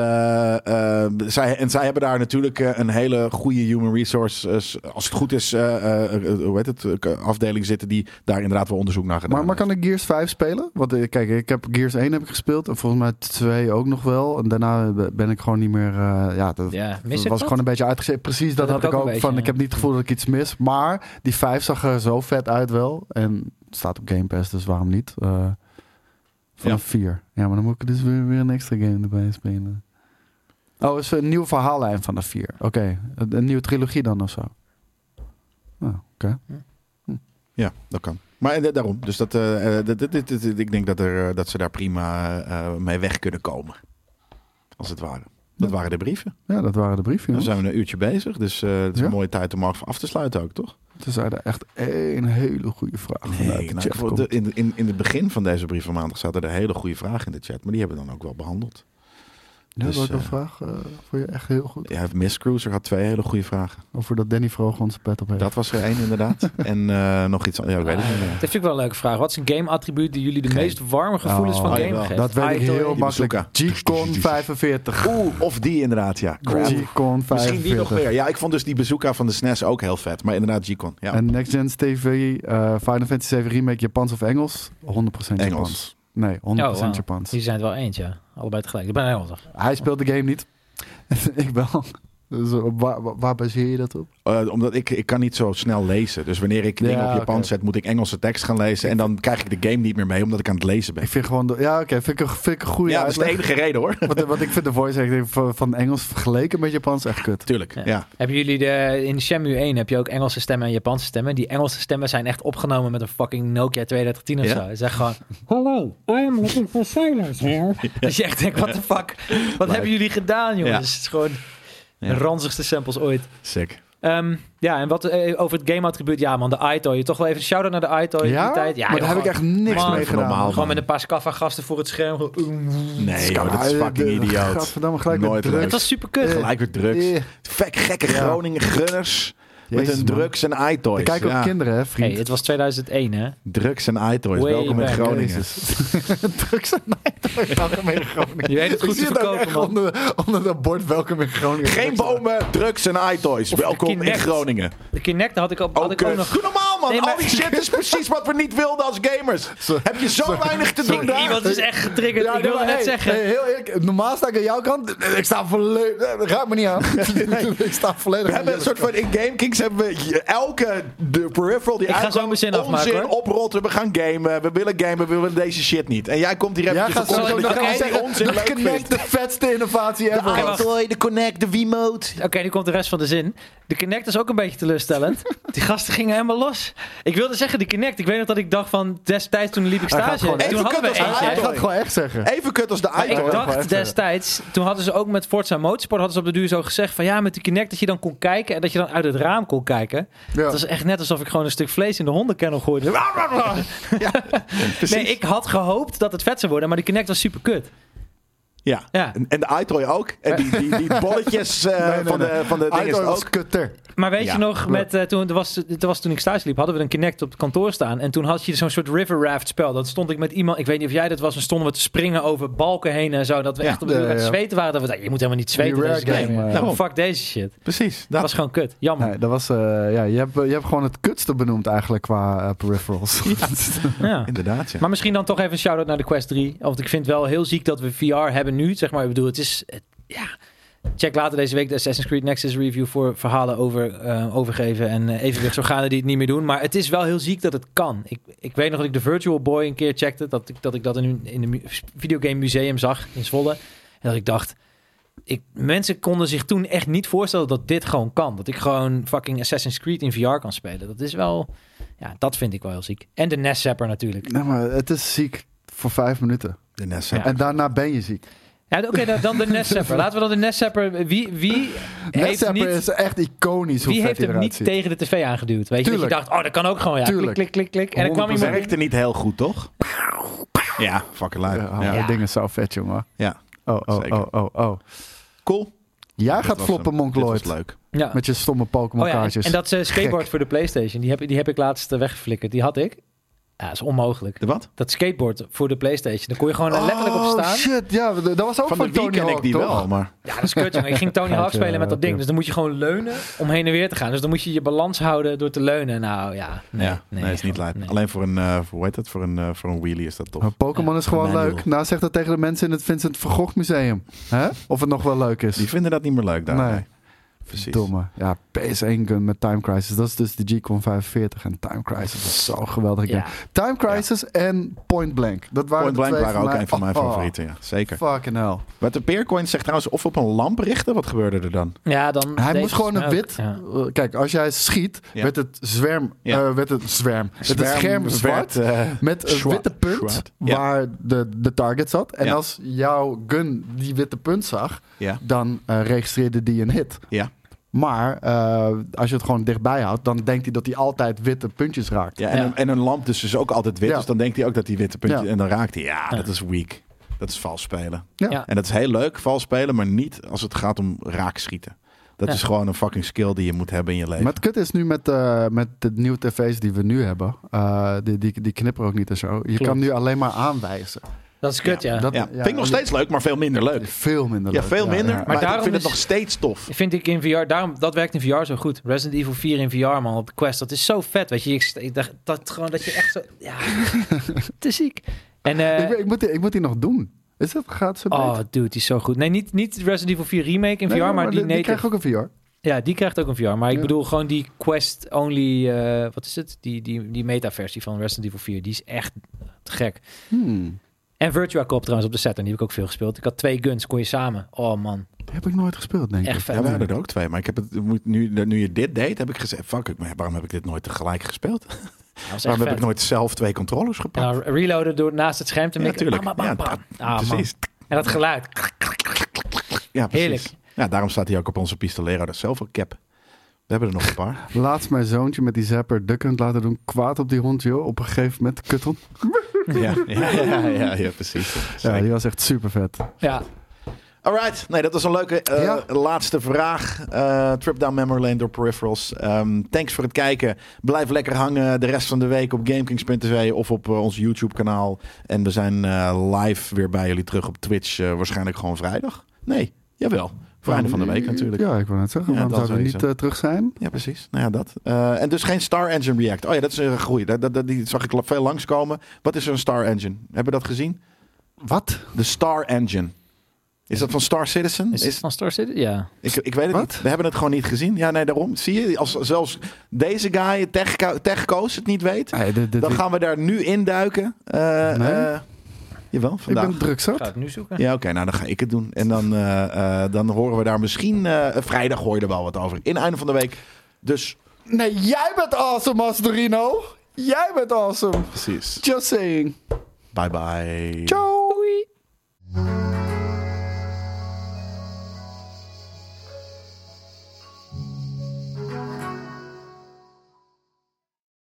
eh, eh, zij, en zij hebben daar natuurlijk eh, een hele goede human resources... eh, als het goed is, eh, eh, eh, hoe heet het, eh, afdeling zitten... die daar inderdaad wel onderzoek naar gedaan
Maar, maar kan ik Gears 5 spelen? Want eh, kijk, ik heb Gears 1 heb ik gespeeld. En volgens mij 2 ook nog wel. En daarna ben ik gewoon niet meer... eh, ja, dat,
ja, mis
was
ik wat?
gewoon een beetje uitgezet. Precies, dat, had
Dat heb
ik
ik
ook.
ook een
van,
beetje,
Ik heb niet het gevoel dat ik iets mis. Maar die 5 zag er zo vet uit wel. En het staat op Game Pass, dus waarom niet? Eh vanaf 4. Ja, maar dan moet ik dus weer, weer een extra game erbij spelen. Oh, is er een nieuwe verhaallijn vanaf 4. Oké, een, een nieuwe trilogie dan of zo. Nou, oké.
Ja, dat kan. Maar eh, daarom. Dus dat, eh, eh, dat- dit- dit- dit- ik denk dat, er, eh, dat ze daar prima eh, mee weg kunnen komen. Als het ware. Dat
Ja.
waren de brieven.
Ja, dat waren de brieven.
Dan
jongens.
zijn we een uurtje bezig. Dus eh, het is
Ja.
een mooie tijd om af af te sluiten ook, toch?
Toen zei er echt één hele goede vraag vanuit
Nee,
de
nou,
chat
voor
komt.
de- in, in, in het begin van deze brief van maandag zaten er hele goede vragen in de chat. Maar die hebben we dan ook wel behandeld.
Ja,
dus,
welke
eh,
vraag eh, vond je echt heel goed?
Ja, Miss Cruiser had twee hele goede vragen.
Over dat Danny Vroeg onze pet op heeft.
Dat was er één inderdaad. en eh, nog iets anders. Ja, ik weet het niet meer.
Dat vind ik wel een leuke vraag. Wat is een game-attribuut die jullie de
Geen.
meest warme gevoelens
Oh,
van
oh,
game
jawel.
geeft?
Dat weet ik
Idol.
heel
Die
makkelijk. G-Con
Bezoeker.
45.
Oeh, of die inderdaad, ja. Crap.
G-Con 45.
Misschien die nog meer. Ja, ik vond dus die bezoeker van de SNES ook heel vet. Maar inderdaad, G-Con. Ja.
En Next Gen TV, eh, Final Fantasy 7 Remake, Japans of Engels? 100% Japans.
Engels.
Nee, 100%
Oh, wauw.
Japans.
Die zijn het wel eens, ja. Allebei tegelijk. Ik ben helemaal toch.
Hij speelt de game niet. ik wel. Dus op waar, waar- waar baseer je dat op?
Eh, omdat ik, ik kan niet zo snel lezen. Dus wanneer ik dingen
Ja,
op Japan
oké.
zet, moet ik Engelse tekst gaan lezen. En dan krijg ik de game niet meer mee, omdat ik aan het lezen ben.
Ik vind gewoon... de- ja, oké. vind, ik een- vind ik een goede
Ja, dat is de
uitleg.
enige reden hoor.
Wat, wat ik vind de voice acting van, van Engels vergeleken met Japans echt kut.
Tuurlijk,
Ja.
ja.
Hebben jullie de, in Shenmue 1 heb je ook Engelse stemmen en Japanse stemmen. Die Engelse stemmen zijn echt opgenomen met een fucking Nokia 3210 of
Ja?
zo. Het is echt gewoon...
Hello, I am looking for sailors here.
Dat je echt denkt, what the fuck? Wat hebben jullie gedaan, jongens?
Ja.
Het is gewoon de
Ja.
ranzigste samples ooit.
Sick.
Ehm, ja, en wat eh, over het game-attribuut. Ja, man, de iToy. Toch wel even een shout-out naar de iToy.
Ja?
Oh, Die tijd. ja
maar
joh,
daar heb ik
gewoon-
echt niks
Man,
mee
even
gedaan.
normaal.
Gewoon met een paar Scaffa-gasten voor het scherm. gewoon-
Nee, joh, dat is fucking idioot.
Gadverdamme, gelijk
Nooit
met drugs. Eh,
leuk.
Het was super kut.
Gelijk weer Eh, drugs. Vek, gekke Groningen grunners. met
Jezus,
hun
man.
drugs en eye-toys.
Ik kijk ook
Ja,
kinderen, hè,
Hey,
vriend.
het was 2001, hè?
Drugs en eye-toys.
Way
Welkom in
back.
Groningen.
Jezus. drugs en night. Welkom in Groningen.
Je weet het goed
Ik
te
zie het ook
verkopen,
echt
man.
Onder, onder dat bord, welkom in Groningen.
Geen bomen, drugs en eye-toys.
Of
Welkom in
Kinect.
Groningen.
De Kinect had ik, op, had
Ook,
ik ook
eh,
nog...
Doe normaal, man.
Nee, maar-
Al die shit is precies wat we niet wilden als gamers. Heb je zo weinig te doen daar?
Iemand is echt getriggerd.
Ja,
ik wilde
nee,
net
hey,
zeggen.
hey, heel eerlijk, normaal sta ik aan jouw kant. Ik sta volledig. Raak me niet aan. ik sta volledig.
We hebben een soort van in Game Kings hebben we je- elke de peripheral die
Ik ga
uitkomt,
zo mijn zin
onzin
afmaken, hoor.
oprotten. We gaan gamen, we willen gamen, we willen deze shit niet. En jij komt hier
Ja,
even
gaat zo. Dan
Oké,
kan
die
je zeggen:
onzin
de
leuk
Connect,
vindt.
de vetste innovatie ever.
Oké,
De
wacht.
Joy, de Connect, de Wiimote.
Oké, nu komt de rest van de zin. De Kinect is ook een beetje teleurstellend. Die gasten gingen helemaal los. Ik wilde zeggen, die Kinect. Ik weet nog dat ik dacht van destijds toen liep ik
Hij gaat
stage.
gewoon
En toen
even
hadden we
kut als
Hij
hij
eentje.
gaat het gewoon echt zeggen.
Even kut als de
Ik
iPhone.
Ja, gewoon
dacht
even.
destijds, toen hadden ze ook met Forza Motorsport hadden ze op de duur zo gezegd van ja, met die Kinect dat je dan kon kijken en dat je dan uit het raam kon kijken.
Ja.
Dat is echt net alsof ik gewoon een stuk vlees in de hondenkennel gooide. nee, ik had gehoopt dat het vet zou worden, maar die Kinect was super kut.
Ja.
Ja.
En, en de iToy ook. En die, die, die bolletjes eh,
Nee, nee,
van,
nee.
De, van de
Hij
dingen
is
ook.
ook kutter.
Maar weet
Ja.
je nog, met, eh, toen, er was, het was toen ik stage liep, hadden we een Kinect op het kantoor staan. En toen had je zo'n soort river raft spel. Dat stond ik met iemand, ik weet niet of jij dat was, en stonden we te springen over balken heen en zo. Dat we
Ja.
echt op de
Ja,
uur aan het
ja.
zweten waren. Dat we dachten, je moet helemaal niet zweten
Die
in
rare
deze game.
game, eh.
nou, fuck deze shit.
Precies.
Dat
Dat,
was gewoon kut. Jammer.
Nee, dat was, eh, ja, je, hebt, je hebt gewoon het kutste benoemd eigenlijk qua eh, peripherals.
Ja.
inderdaad, ja.
Maar misschien dan toch even een shout-out naar de Quest 3. Want ik vind wel heel ziek dat we VR hebben nu. Zeg maar, ik bedoel, het is... het- ja. Check later deze week de Assassin's Creed Nexus review voor verhalen over eh, overgeven en eh, evenwichtsorganen die het niet meer doen. Maar het is wel heel ziek dat het kan. Ik, ik weet nog dat ik de Virtual Boy een keer checkte. Dat ik dat, ik dat in een in een mu- videogame museum zag in Zwolle. En dat ik dacht, ik, mensen konden zich toen echt niet voorstellen dat dit gewoon kan. Dat ik gewoon fucking Assassin's Creed in VR kan spelen. Dat is wel, ja, dat vind ik wel heel ziek. En de NES Zapper natuurlijk.
nee, maar het is ziek voor vijf minuten.
De NES, hè.
Ja.
En daarna ben je ziek.
Ja, oké, dan- dan de Nessepper. Laten we dan de Nessepper. Wie, wie heeft,
Netsapper
niet,
is echt iconisch hoe
wie
vet
heeft
hij
hem
eruit
niet
ziet.
tegen de tv aangeduwd? Weet je, dat je
Tuurlijk.
dacht, oh, dat kan ook gewoon. Ja, klik,
Tuurlijk.
klik, klik, klik. En dan kwam
100%.
Het
iemand.
werkte niet heel goed, toch? Ja, fucking lui.
Ja, oh,
Ja.
dat ding is zo vet, jongen.
Ja.
Oh, oh,
Zeker.
oh, oh, oh.
Cool.
Jij
Dit
gaat
was
floppen,
hem.
Monk
Dit
Lloyd.
was leuk.
Ja.
Met je stomme
Oh ja, en,
Pokémon-kaartjes.
en dat eh, skateboard voor de PlayStation, die heb, die heb ik laatst eh, weggeflikkerd. Die had ik. Ja, dat is onmogelijk.
De wat?
Dat skateboard voor de PlayStation, daar kon je gewoon eh, letterlijk op
Oh,
staan.
shit. Ja, d- dat was ook
Van
van,
de Wii
Tony
ken ik
Hawk,
die
toch?
wel, maar...
Ja, dat is kut, jongen. Ik ging Tony
Gaat,
Hawk spelen met dat
eh,
ding.
ja.
Dus dan moet je gewoon leunen om heen en weer te gaan. Dus dan moet je je balans houden door te leunen. Nou ja, nee.
ja, nee, is niet
gewoon,
lijp.
nee.
Alleen voor een, eh, voor, hoe heet dat? Voor een, eh, voor een wheelie is dat tof.
Maar Pokémon is gewoon
Manual.
leuk. Nou, zeg dat tegen de mensen in het Vincent van Gogh Museum. hè? Of het nog wel leuk is.
Die vinden dat niet meer leuk daar.
Nee.
nee. Precies.
Domme. Ja, PS1 gun met Time Crisis. Dat is dus de G-Con 45. En Time Crisis was zo'n geweldige game.
Ja.
Time Crisis en Point Blank. Dat waren
Point
de
Blank
twee
waren ook een van mijn
Oh,
favorieten, ja. Zeker.
Fucking hell.
Wat de Peercoin zegt trouwens, of op een lamp richten, wat gebeurde er dan?
Ja, dan
Hij
deed
moest gewoon
het
een
ook.
wit...
Ja.
eh, Kijk, als jij schiet,
Ja.
werd het zwerm...
Ja.
eh, werd het zwerm. werd het scherm zwart.
eh,
met een
Schwa-
witte punt
zwart. Ja.
waar de, de target zat. En
Ja.
als jouw gun die witte punt zag,
Ja.
dan eh, registreerde die een hit.
Ja.
Maar eh, als je het gewoon dichtbij houdt, dan denkt hij dat hij altijd witte puntjes raakt.
Ja, en,
Ja.
Een, en een lamp dus is ook altijd wit,
Ja.
dus dan denkt hij ook dat hij witte puntje...
Ja.
En dan raakt hij, ja,
Ja.
dat is weak. Dat is vals spelen.
Ja.
Ja.
En dat is heel leuk, vals spelen, maar niet als het gaat om raak schieten. Dat
Ja.
is gewoon een fucking skill die je moet hebben in je leven.
Maar het kut is nu met, eh, met de nieuwe tv's die we nu hebben, eh, die, die, die knipperen ook niet en zo. Je kan nu alleen maar aanwijzen.
Dat is kut, ja.
Dat
ja. Vind ik nog steeds leuk, maar veel minder leuk.
Veel minder
Ja,
leuk.
veel minder,
ja.
maar,
daarom
ik vind
is-
het nog steeds tof.
Vind ik in VR, daarom, dat werkt in VR zo goed. Resident Evil 4 in VR, man, op de Quest. Dat is zo vet, weet je. Ik, ik dacht dat gewoon dat je echt zo... Ja, te ziek. En, eh,
ik, ben- ik, moet die, ik moet die nog doen. Is dat, gaat ze
oh,
beter?
dude, die is zo goed. Nee, niet, niet Resident Evil 4 Remake in
Nee,
VR, maar,
die,
die,
die
native-
krijg ook een VR.
Ja, die krijgt ook een VR. Maar ik
Ja.
bedoel gewoon die Quest-only... eh, wat is het? Die, die, die meta-versie van Resident Evil 4. Die is echt te gek.
Hmm.
En Virtua Cop trouwens op de Saturn. Die heb ik ook veel gespeeld. Ik had twee guns, kon je samen. Oh, man.
Die heb ik nooit gespeeld, denk ik.
Echt
Ja,
vet.
we hadden er ook twee, maar ik heb het, moet- nu, nu je dit deed, heb ik gezegd, fuck, ik, maar waarom heb ik dit nooit tegelijk gespeeld?
Dat was echt
Waarom
vet.
heb ik nooit zelf twee controllers
En
gepakt?
dan reloaden door naast het scherm te
Ja,
mikken.
natuurlijk.
Bam,
Ja,
bam, bam,
dat-
bam. Ah, man.
precies.
En dat geluid.
Ja, precies.
Heerlijk.
Ja, daarom staat hij ook op onze pistolero, dat zoveel cap. We hebben er nog een paar.
Laatst mijn zoontje met die zapper dukkend laten doen. Kwaad op die hond, joh. Op een gegeven moment kutten.
ja, ja, ja, ja, ja, precies.
Ja,
Zeker.
die was echt super vet.
Ja.
Alright, nee, dat was een leuke eh,
Ja.
laatste vraag. Eh, trip down memory lane door peripherals. Ehm, thanks voor het kijken. Blijf lekker hangen de rest van de week op GameKings.tv of op eh, ons YouTube kanaal. En we zijn eh, live weer bij jullie terug op Twitch. eh, waarschijnlijk gewoon vrijdag. Nee, jawel. Voor einde van de week natuurlijk.
Ja, ik wil net zeggen.
Ja,
waarom
dat
zouden we
sowieso.
niet eh, terug zijn?
Ja, precies. Nou ja, dat. Eh, en dus geen Star Engine React. Oh ja, dat is een groei. Dat, dat, dat- die zag ik veel langskomen. Wat is een Star Engine? Hebben we dat gezien?
Wat?
De Star Engine. Is dat van Star Citizen?
Is, het
Is,
van Star City? Ja.
ik, ik weet het
Wat?
niet. We hebben het gewoon niet gezien. Ja, nee, daarom. Zie je, als zelfs deze guy, Techco- Techcoos, het niet weet,
Nee, dit- dit-
dan
ik-
gaan we daar nu induiken. Eh
Nee.
eh, jawel,
ik
vandaag.
ben druk
Ik ga
zat.
het nu zoeken.
Ja, oké, nou dan ga ik het doen. En dan, eh, eh, dan horen we daar misschien. eh, vrijdag hoor je er wel wat over. In einde van de week. Dus
Nee, jij bent awesome, Mastorino. Jij bent awesome.
precies.
Just saying.
Bye bye.
Ciao.